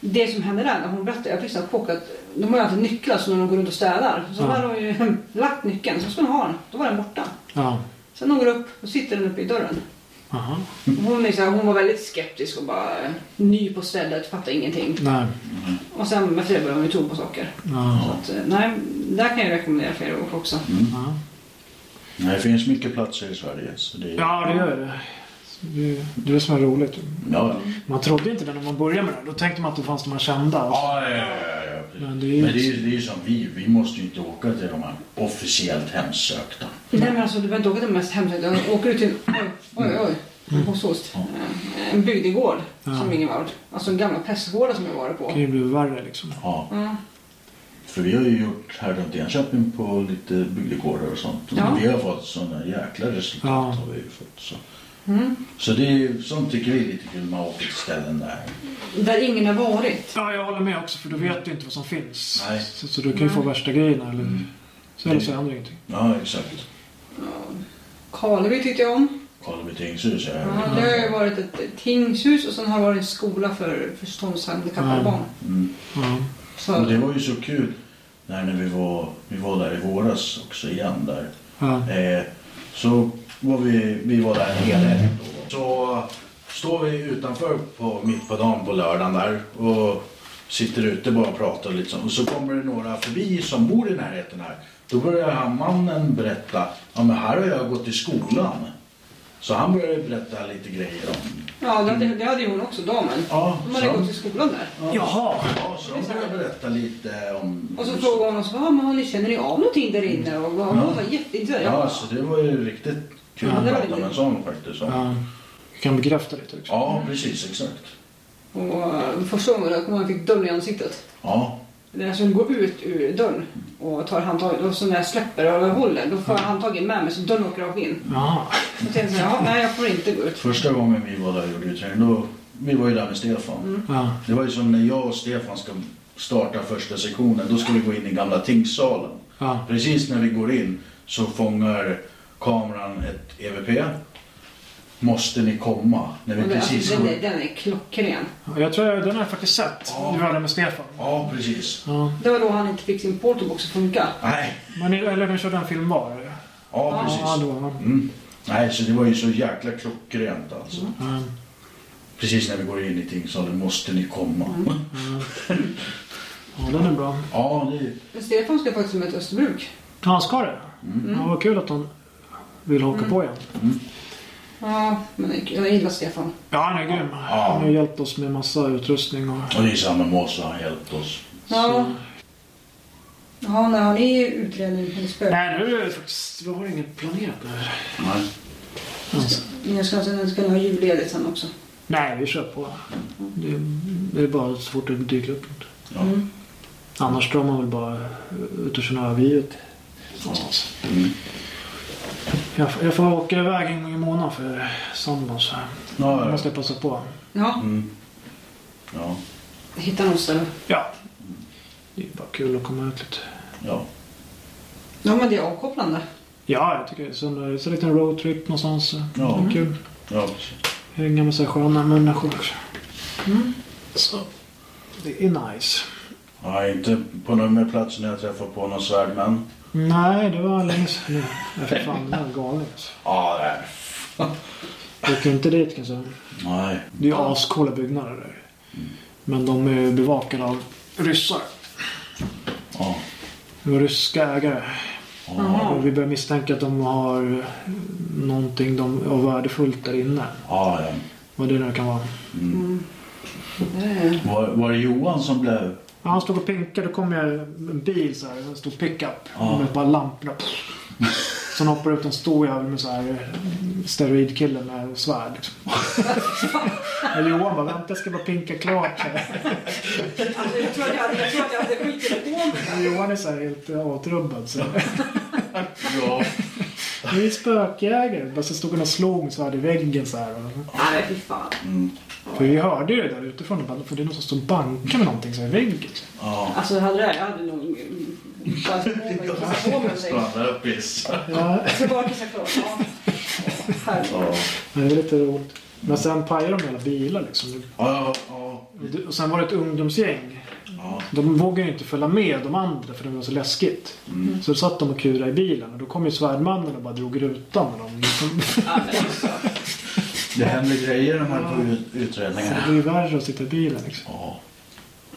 Speaker 2: det som hände där när hon berättade, jag fick så här chock att de har ju alltid nycklar så när de går runt och städar. Så
Speaker 1: Ja.
Speaker 2: hade hon ju lagt nyckeln, så skulle hon ha den. Då var den borta.
Speaker 1: Ja.
Speaker 2: Sen hon går upp och sitter den uppe i dörren.
Speaker 1: Aha.
Speaker 2: Och Hon, är så här, hon var väldigt skeptisk och bara eh, ny på stället, fattar ingenting.
Speaker 1: Nej.
Speaker 2: Och sen efter det började hon ju tro på saker.
Speaker 1: Ja.
Speaker 2: Så att, eh, nej, där kan jag rekommendera för er att åka också.
Speaker 1: Ja.
Speaker 3: Mm. Nej, det finns mycket platser i Sverige. Så det,
Speaker 1: Ja, det gör det. Det är det är som är roligt.
Speaker 3: ja.
Speaker 1: Man trodde inte det när man började med det. Då tänkte man Alltså, att det fanns de här kända.
Speaker 3: Ja, ja, ja, ja.
Speaker 1: Men
Speaker 3: Men
Speaker 1: det
Speaker 3: det
Speaker 1: är ju-
Speaker 3: är ju det är ju som vi, vi måste ju inte åka till de här officiellt hemsökta.
Speaker 2: Nej men alltså det var då det mest hemsökta. Jag åker ut till oj, oj, oj.
Speaker 3: Mm.
Speaker 2: Hos oss. En bygdegård som
Speaker 1: Ja.
Speaker 2: ingen varit. Alltså gamla pestgårdar som jag varit
Speaker 1: Det
Speaker 2: på.
Speaker 1: kan ju bli värre liksom.
Speaker 3: Ja,
Speaker 2: Ja.
Speaker 3: för vi har ju gjort här runt Enköping på lite bygdegårdar och sånt. Och
Speaker 2: Ja.
Speaker 3: Vi har fått sådana jäkla resultat.
Speaker 1: Ja.
Speaker 3: Har vi ju fått, så.
Speaker 2: Mm.
Speaker 3: så det är ju, sånt tycker vi är lite kul, man åker till ställen där.
Speaker 2: Där ingen har varit.
Speaker 1: Ja, jag håller med också för du vet ju inte vad som finns.
Speaker 3: Nej. Mm.
Speaker 1: Så, så du kan ju få värsta grejerna eller så, eller så händer ingenting.
Speaker 3: Ja, exakt.
Speaker 2: Karleby tyckte jag om.
Speaker 3: Karleby tingshus är
Speaker 2: Ja, det har ju varit ett tingshus och sen har det varit en skola för förståndshandikappade
Speaker 1: Mm.
Speaker 2: barn.
Speaker 3: mm.
Speaker 1: Ja.
Speaker 2: Så,
Speaker 3: Och det var ju så kul när, när vi, var, vi var där i våras också igen där.
Speaker 1: Ja.
Speaker 3: Eh, så var vi, vi var där en hel helg. då. Så står vi utanför på, mitt på dagen på lördagen där och sitter ute bara och pratar lite så. Och så kommer det några förbi som bor i närheten här. Då börjar han mannen berätta. Ja men här har jag gått i skolan. Så han började berätta lite grejer om.
Speaker 2: ja, det, hade- det hade ju hon också, damen.
Speaker 3: Ja,
Speaker 2: De
Speaker 3: så.
Speaker 2: hade gått i skolan där.
Speaker 1: Jaha!
Speaker 3: Ja, så de började berätta lite om.
Speaker 2: Och så frågade hon oss, "Ja, men har ni, känner ni av någonting där inne? Och hon var jätteintresserad.
Speaker 3: Ja, alltså. så det var ju riktigt kul
Speaker 2: Ja,
Speaker 3: att
Speaker 2: det var
Speaker 3: prata
Speaker 2: det.
Speaker 3: med en sån faktiskt.
Speaker 1: Ja. Jag kan bekräfta lite också.
Speaker 3: Ja, precis, exakt.
Speaker 2: Och eh, första gången jag kommer ihåg, jag fick dörren i ansiktet.
Speaker 3: Ja,
Speaker 2: Det är som går ut ur dörren och tar handtaget. Och så när jag släpper och håller, då får
Speaker 3: Mm.
Speaker 2: jag handtaget med mig så dörren åker rakt in.
Speaker 1: Jaha.
Speaker 2: Och tänkte jag, "Ja, nej jag får inte gå ut.
Speaker 3: Första gången vi var där och gjorde utredning, då, vi var ju där med Stefan.
Speaker 1: Ja.
Speaker 3: Det var ju som när jag och Stefan ska starta första sektionen, då ska vi gå in i gamla tingssalen.
Speaker 1: Ja.
Speaker 3: Precis när vi går in så fångar kameran ett EVP. Måste ni komma? När vi
Speaker 2: Och den,
Speaker 3: precis
Speaker 2: den,
Speaker 3: går...
Speaker 2: är, den är klockren.
Speaker 1: Ja, Jag tror jag, den har jag faktiskt sett.
Speaker 3: Ja.
Speaker 1: Du var där med Stefan.
Speaker 3: Ja, precis.
Speaker 1: Ja.
Speaker 2: Det var då han inte fick sin portobox att funka.
Speaker 3: Nej,
Speaker 1: Men, ni- eller ni körde en film var? Ja,
Speaker 3: ja
Speaker 1: ja
Speaker 3: precis.
Speaker 1: då. ja.
Speaker 3: Mm. Nej, så det var ju så jäkla klockrent alltså.
Speaker 1: Ja.
Speaker 3: Precis när vi går in i tingssalen, måste ni komma?
Speaker 1: ja, den är bra.
Speaker 3: Ja, det...
Speaker 2: Men Stefan ska faktiskt med till Österbruk.
Speaker 1: Ja, Han ska det?
Speaker 3: Mm.
Speaker 1: Ja, vad kul att hon vill haka på igen.
Speaker 2: Ja, men jag gillar Stefan.
Speaker 1: Ja, han är grym. Han har hjälpt oss med massa utrustning och...
Speaker 3: och det är samma med oss, han hjälpt oss.
Speaker 2: Ja. Ja, när han är i utredning eller spö.
Speaker 1: Nej, nu är det faktiskt... Vi har inget planerat där.
Speaker 3: Nej.
Speaker 1: Alltså.
Speaker 2: Men jag ska, sen ska jag ha julledigt sen också.
Speaker 1: Nej, vi kör på. Det, det är bara så fort det dyker upp något.
Speaker 3: Ja.
Speaker 2: Mm.
Speaker 1: Annars drar man väl bara ut och känner övergivet. Någonstans.
Speaker 3: Mm.
Speaker 1: Jag, får- jag får åka iväg en gång i månaden för sambon så
Speaker 3: Ja,
Speaker 1: jag
Speaker 3: ja.
Speaker 1: måste passa på.
Speaker 2: Ja,
Speaker 3: Mm. Ja,
Speaker 2: hitta något ställe.
Speaker 1: Ja. Det är bara kul att komma ut lite.
Speaker 3: ja.
Speaker 2: Ja, men det är avkopplande.
Speaker 1: Ja, jag tycker det. är Sen, så en liten roadtrip någonstans.
Speaker 3: Ja.
Speaker 1: Det är kul.
Speaker 3: ja.
Speaker 1: Hänga med sig sköna människor också.
Speaker 2: Mm.
Speaker 1: Så det är nice.
Speaker 3: ja inte på nummerplatsen när jag träffar på någon svärdman.
Speaker 1: Nej, det var länge sedan nu. Jag är fan den här galningen alltså.
Speaker 3: Ja, det är det.
Speaker 1: Jag åker inte dit kan jag säga.
Speaker 3: Nej.
Speaker 1: Det är ju ascoola byggnader där. Men de är ju bevakade av ryssar.
Speaker 3: Ja.
Speaker 1: Det var ryska ägare.
Speaker 2: Jaha.
Speaker 3: Ja.
Speaker 1: Och vi börjar misstänka att de har eh, någonting de av värdefullt där inne.
Speaker 3: ja, ja.
Speaker 1: Vad det nu kan vara.
Speaker 2: Det är-
Speaker 3: Var, var det Johan som blev...
Speaker 1: Ja, han stod och pinkade. Då kom jag en bil så här. En stor pickup.
Speaker 3: Ja.
Speaker 1: Med bara lamporna. Sen hoppar ut en stor jävel med så här eh, steroidkille med svärd. Liksom. Och Johan bara, vänta jag ska bara pinka klart. här."
Speaker 2: Alltså, jag tror att jag hade, jag tror att jag hade skitit på mig.
Speaker 1: Johan är så här helt eh, avtrubbad. Så.
Speaker 3: Ja.
Speaker 1: Det är spökjägare. Bara så stod han och slog med svärd i väggen så här. Och-
Speaker 2: Nej, fy fan.
Speaker 3: Mm.
Speaker 1: För vi hörde ju det där utifrån. Bara, för det är någon som står och bankar med någonting så här i väggen.
Speaker 3: Ja.
Speaker 2: Alltså, hade det, jag hade nog... mm, bara kissat på mig. säger jag.
Speaker 3: Blandar upp is.
Speaker 1: Ja,
Speaker 2: Så bara kissa klart. Ja. Herregud.
Speaker 3: Ja.
Speaker 1: det är lite roligt. Men sen pajade de hela bilar liksom.
Speaker 3: Ja, ja,
Speaker 1: Och sen var det ett ungdomsgäng.
Speaker 3: ja.
Speaker 1: De vågade ju inte följa med de andra för det var så läskigt.
Speaker 3: Mm.
Speaker 1: Så då satt de och kurade i bilen och då kom ju svärdmannen och bara drog rutan. Och de liksom,
Speaker 2: Ja, men alltså.
Speaker 3: Det händer grejer de här på ut-
Speaker 1: det
Speaker 3: utredningarna.
Speaker 1: blir ju värre att sitta i bilen liksom.
Speaker 3: Ja.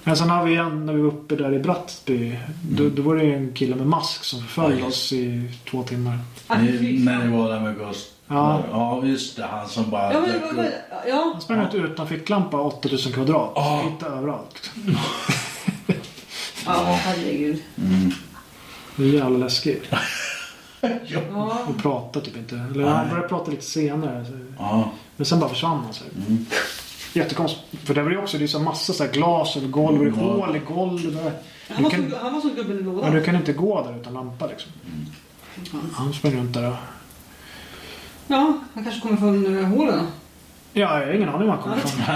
Speaker 1: Men sen har vi en, när vi var uppe där i Brattby. Då, då var det ju en kille med mask som förföljde
Speaker 3: Mm. Ja,
Speaker 1: oss i två timmar.
Speaker 2: Ah,
Speaker 3: Ni,
Speaker 2: fy
Speaker 3: när
Speaker 2: fan.
Speaker 3: ni var där med Ghost.
Speaker 1: Ja.
Speaker 3: ja just det. Han som bara
Speaker 2: Ja, men,
Speaker 3: dök
Speaker 2: vad-
Speaker 3: upp.
Speaker 2: vad- ja,
Speaker 1: Han sprang ut utan ficklampa 8000 kvadrat.
Speaker 3: Ja.
Speaker 1: Inte överallt.
Speaker 2: ja, herregud.
Speaker 3: Mm.
Speaker 1: Det är jävla läskigt.
Speaker 2: Ja.
Speaker 1: Och pratade typ inte. Eller
Speaker 3: Nej.
Speaker 1: han började prata lite senare. så-
Speaker 3: Ja.
Speaker 1: Men sen bara försvann han. så här.
Speaker 3: Mm.
Speaker 1: Jättekonstigt. För det var ju också det är så massa så här glas över golv. Det är
Speaker 3: Ja.
Speaker 1: hål i golvet.
Speaker 2: Han
Speaker 1: Du
Speaker 2: var, som,
Speaker 1: kan,
Speaker 2: han var som gubben i
Speaker 1: ja,
Speaker 2: lådan.
Speaker 1: du kan inte gå där utan lampa liksom. Han sprang runt där och...
Speaker 2: Ja, han kanske kommer från eh, hålen.
Speaker 1: Ja, jag har ingen aning var han kommer ifrån.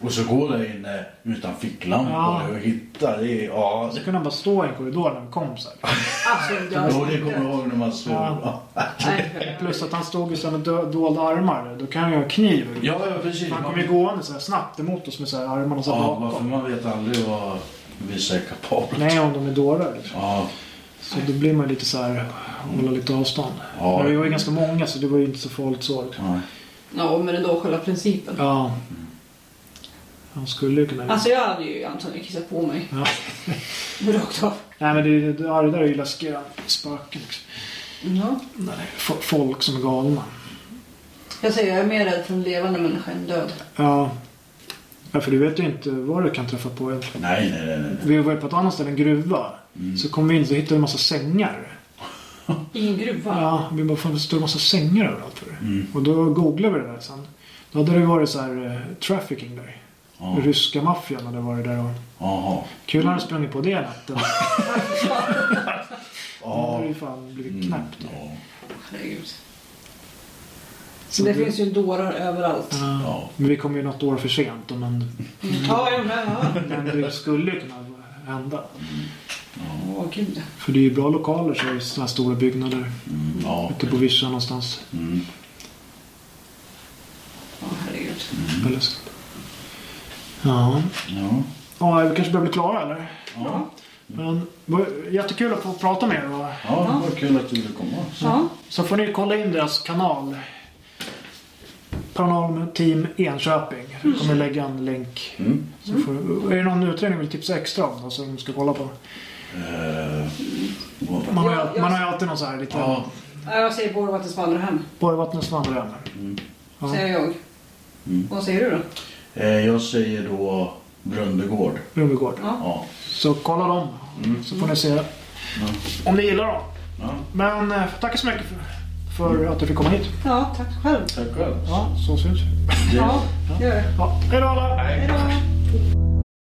Speaker 3: Och så går där inne utan ficklampor
Speaker 1: Ja.
Speaker 3: och hittar. Det är, ja,
Speaker 1: Så
Speaker 3: det,
Speaker 1: kunde han bara stå i en korridor när vi kom så här.
Speaker 2: Alltså, jag...
Speaker 3: Jo, det kommer jag ihåg när man såg.
Speaker 1: Ja.
Speaker 3: Ja,
Speaker 2: Nej,
Speaker 1: Plus att han stod ju så här med dö- dolda armar. Då kan han ju ha kniv.
Speaker 3: ja, ja precis.
Speaker 1: Han kom ju gående så här snabbt emot oss med så här armarna så här
Speaker 3: ja, varför
Speaker 1: bakom.
Speaker 3: man vet aldrig vad vissa är kapabla till.
Speaker 1: Nej, om de är dårar liksom.
Speaker 3: Ja,
Speaker 1: Så då blir man ju lite så här, hålla lite avstånd.
Speaker 3: Ja.
Speaker 1: Men vi var ju ganska många så det var ju inte så farligt så. Liksom.
Speaker 3: ja.
Speaker 2: ja, men ändå själva principen.
Speaker 1: Ja. Mm. Han skulle ju kunna...
Speaker 2: Alltså jag hade ju antagligen kissat på mig.
Speaker 1: Ja.
Speaker 2: Rakt av.
Speaker 1: Nej men det, det, ja, det där är ju läskiga spöken liksom.
Speaker 2: Ja.
Speaker 1: Nej, fo- folk som är galna.
Speaker 2: Jag säger, jag är mer rädd för en levande människa än död.
Speaker 1: Ja. ja. För du vet ju inte vad du kan träffa på egentligen.
Speaker 3: Nej, nej, nej. nej. Mm.
Speaker 1: Vi var på ett annat ställe, en gruva. Så kom vi in så hittade vi en massa sängar.
Speaker 2: I en gruva.
Speaker 1: Ja, vi bara, fan det står en massa sängar överallt. För det.
Speaker 3: Mm.
Speaker 1: Och då googlade vi det där sen. Då hade det varit så här eh, trafficking där.
Speaker 3: Ja.
Speaker 1: Ryska maffian hade varit där och...
Speaker 3: Jaha.
Speaker 1: Kul hade sprungit på det natten. Då
Speaker 3: Ja.
Speaker 1: hade det ju fan blivit
Speaker 3: Mm,
Speaker 1: knäppt.
Speaker 3: ja.
Speaker 2: Herregud.
Speaker 1: Så
Speaker 2: det
Speaker 1: det-
Speaker 2: finns ju dårar överallt.
Speaker 1: Ja.
Speaker 3: Ja.
Speaker 1: Men vi kom ju något år för sent. Men,
Speaker 2: Ja, jag med. Ja.
Speaker 1: men det skulle ju kunna hända.
Speaker 2: Åh, gud.
Speaker 1: För det är ju bra lokaler så är det sådana här stora byggnader.
Speaker 3: Mm, ja.
Speaker 1: Ute på vischan någonstans.
Speaker 3: Mm.
Speaker 2: Ja, herregud.
Speaker 1: Vad läskigt. Ja.
Speaker 3: Mm. Ja.
Speaker 1: Ja, vi kanske börjar bli klara eller?
Speaker 3: Ja.
Speaker 1: Men det var jättekul att få prata med er. Och
Speaker 3: ja, vad kul att du ville komma.
Speaker 2: Ja.
Speaker 1: så får ni kolla in deras kanal. Paranormal Team Enköping. Vi kommer lägga en länk.
Speaker 3: Mm.
Speaker 1: Så får, är det någon utredning vi vill tipsa extra om då, som de ska kolla på?
Speaker 3: Eh, och-
Speaker 1: Man har, ju-
Speaker 2: Ja, jag-
Speaker 1: man har ju alltid någon så här lite...
Speaker 3: ja.
Speaker 2: Ja, Jag säger Borgvattens vandrarhem.
Speaker 1: Borgvattnets vandrarhem.
Speaker 3: Mm.
Speaker 1: Ja.
Speaker 2: Säger jag.
Speaker 3: Mm.
Speaker 2: Vad säger du då?
Speaker 3: Eh, jag säger då Brundegård.
Speaker 1: Rummegård.
Speaker 2: Ja.
Speaker 3: Ja.
Speaker 1: Så kolla dem. Så får ni se om ni gillar dem.
Speaker 3: ja.
Speaker 1: Men eh, tack så mycket för, för att du fick komma hit.
Speaker 2: Ja, tack själv.
Speaker 3: Tack själv.
Speaker 1: Ja, så syns vi.
Speaker 2: Ja, gör det.
Speaker 1: Ja, hej då alla!
Speaker 2: Hej då.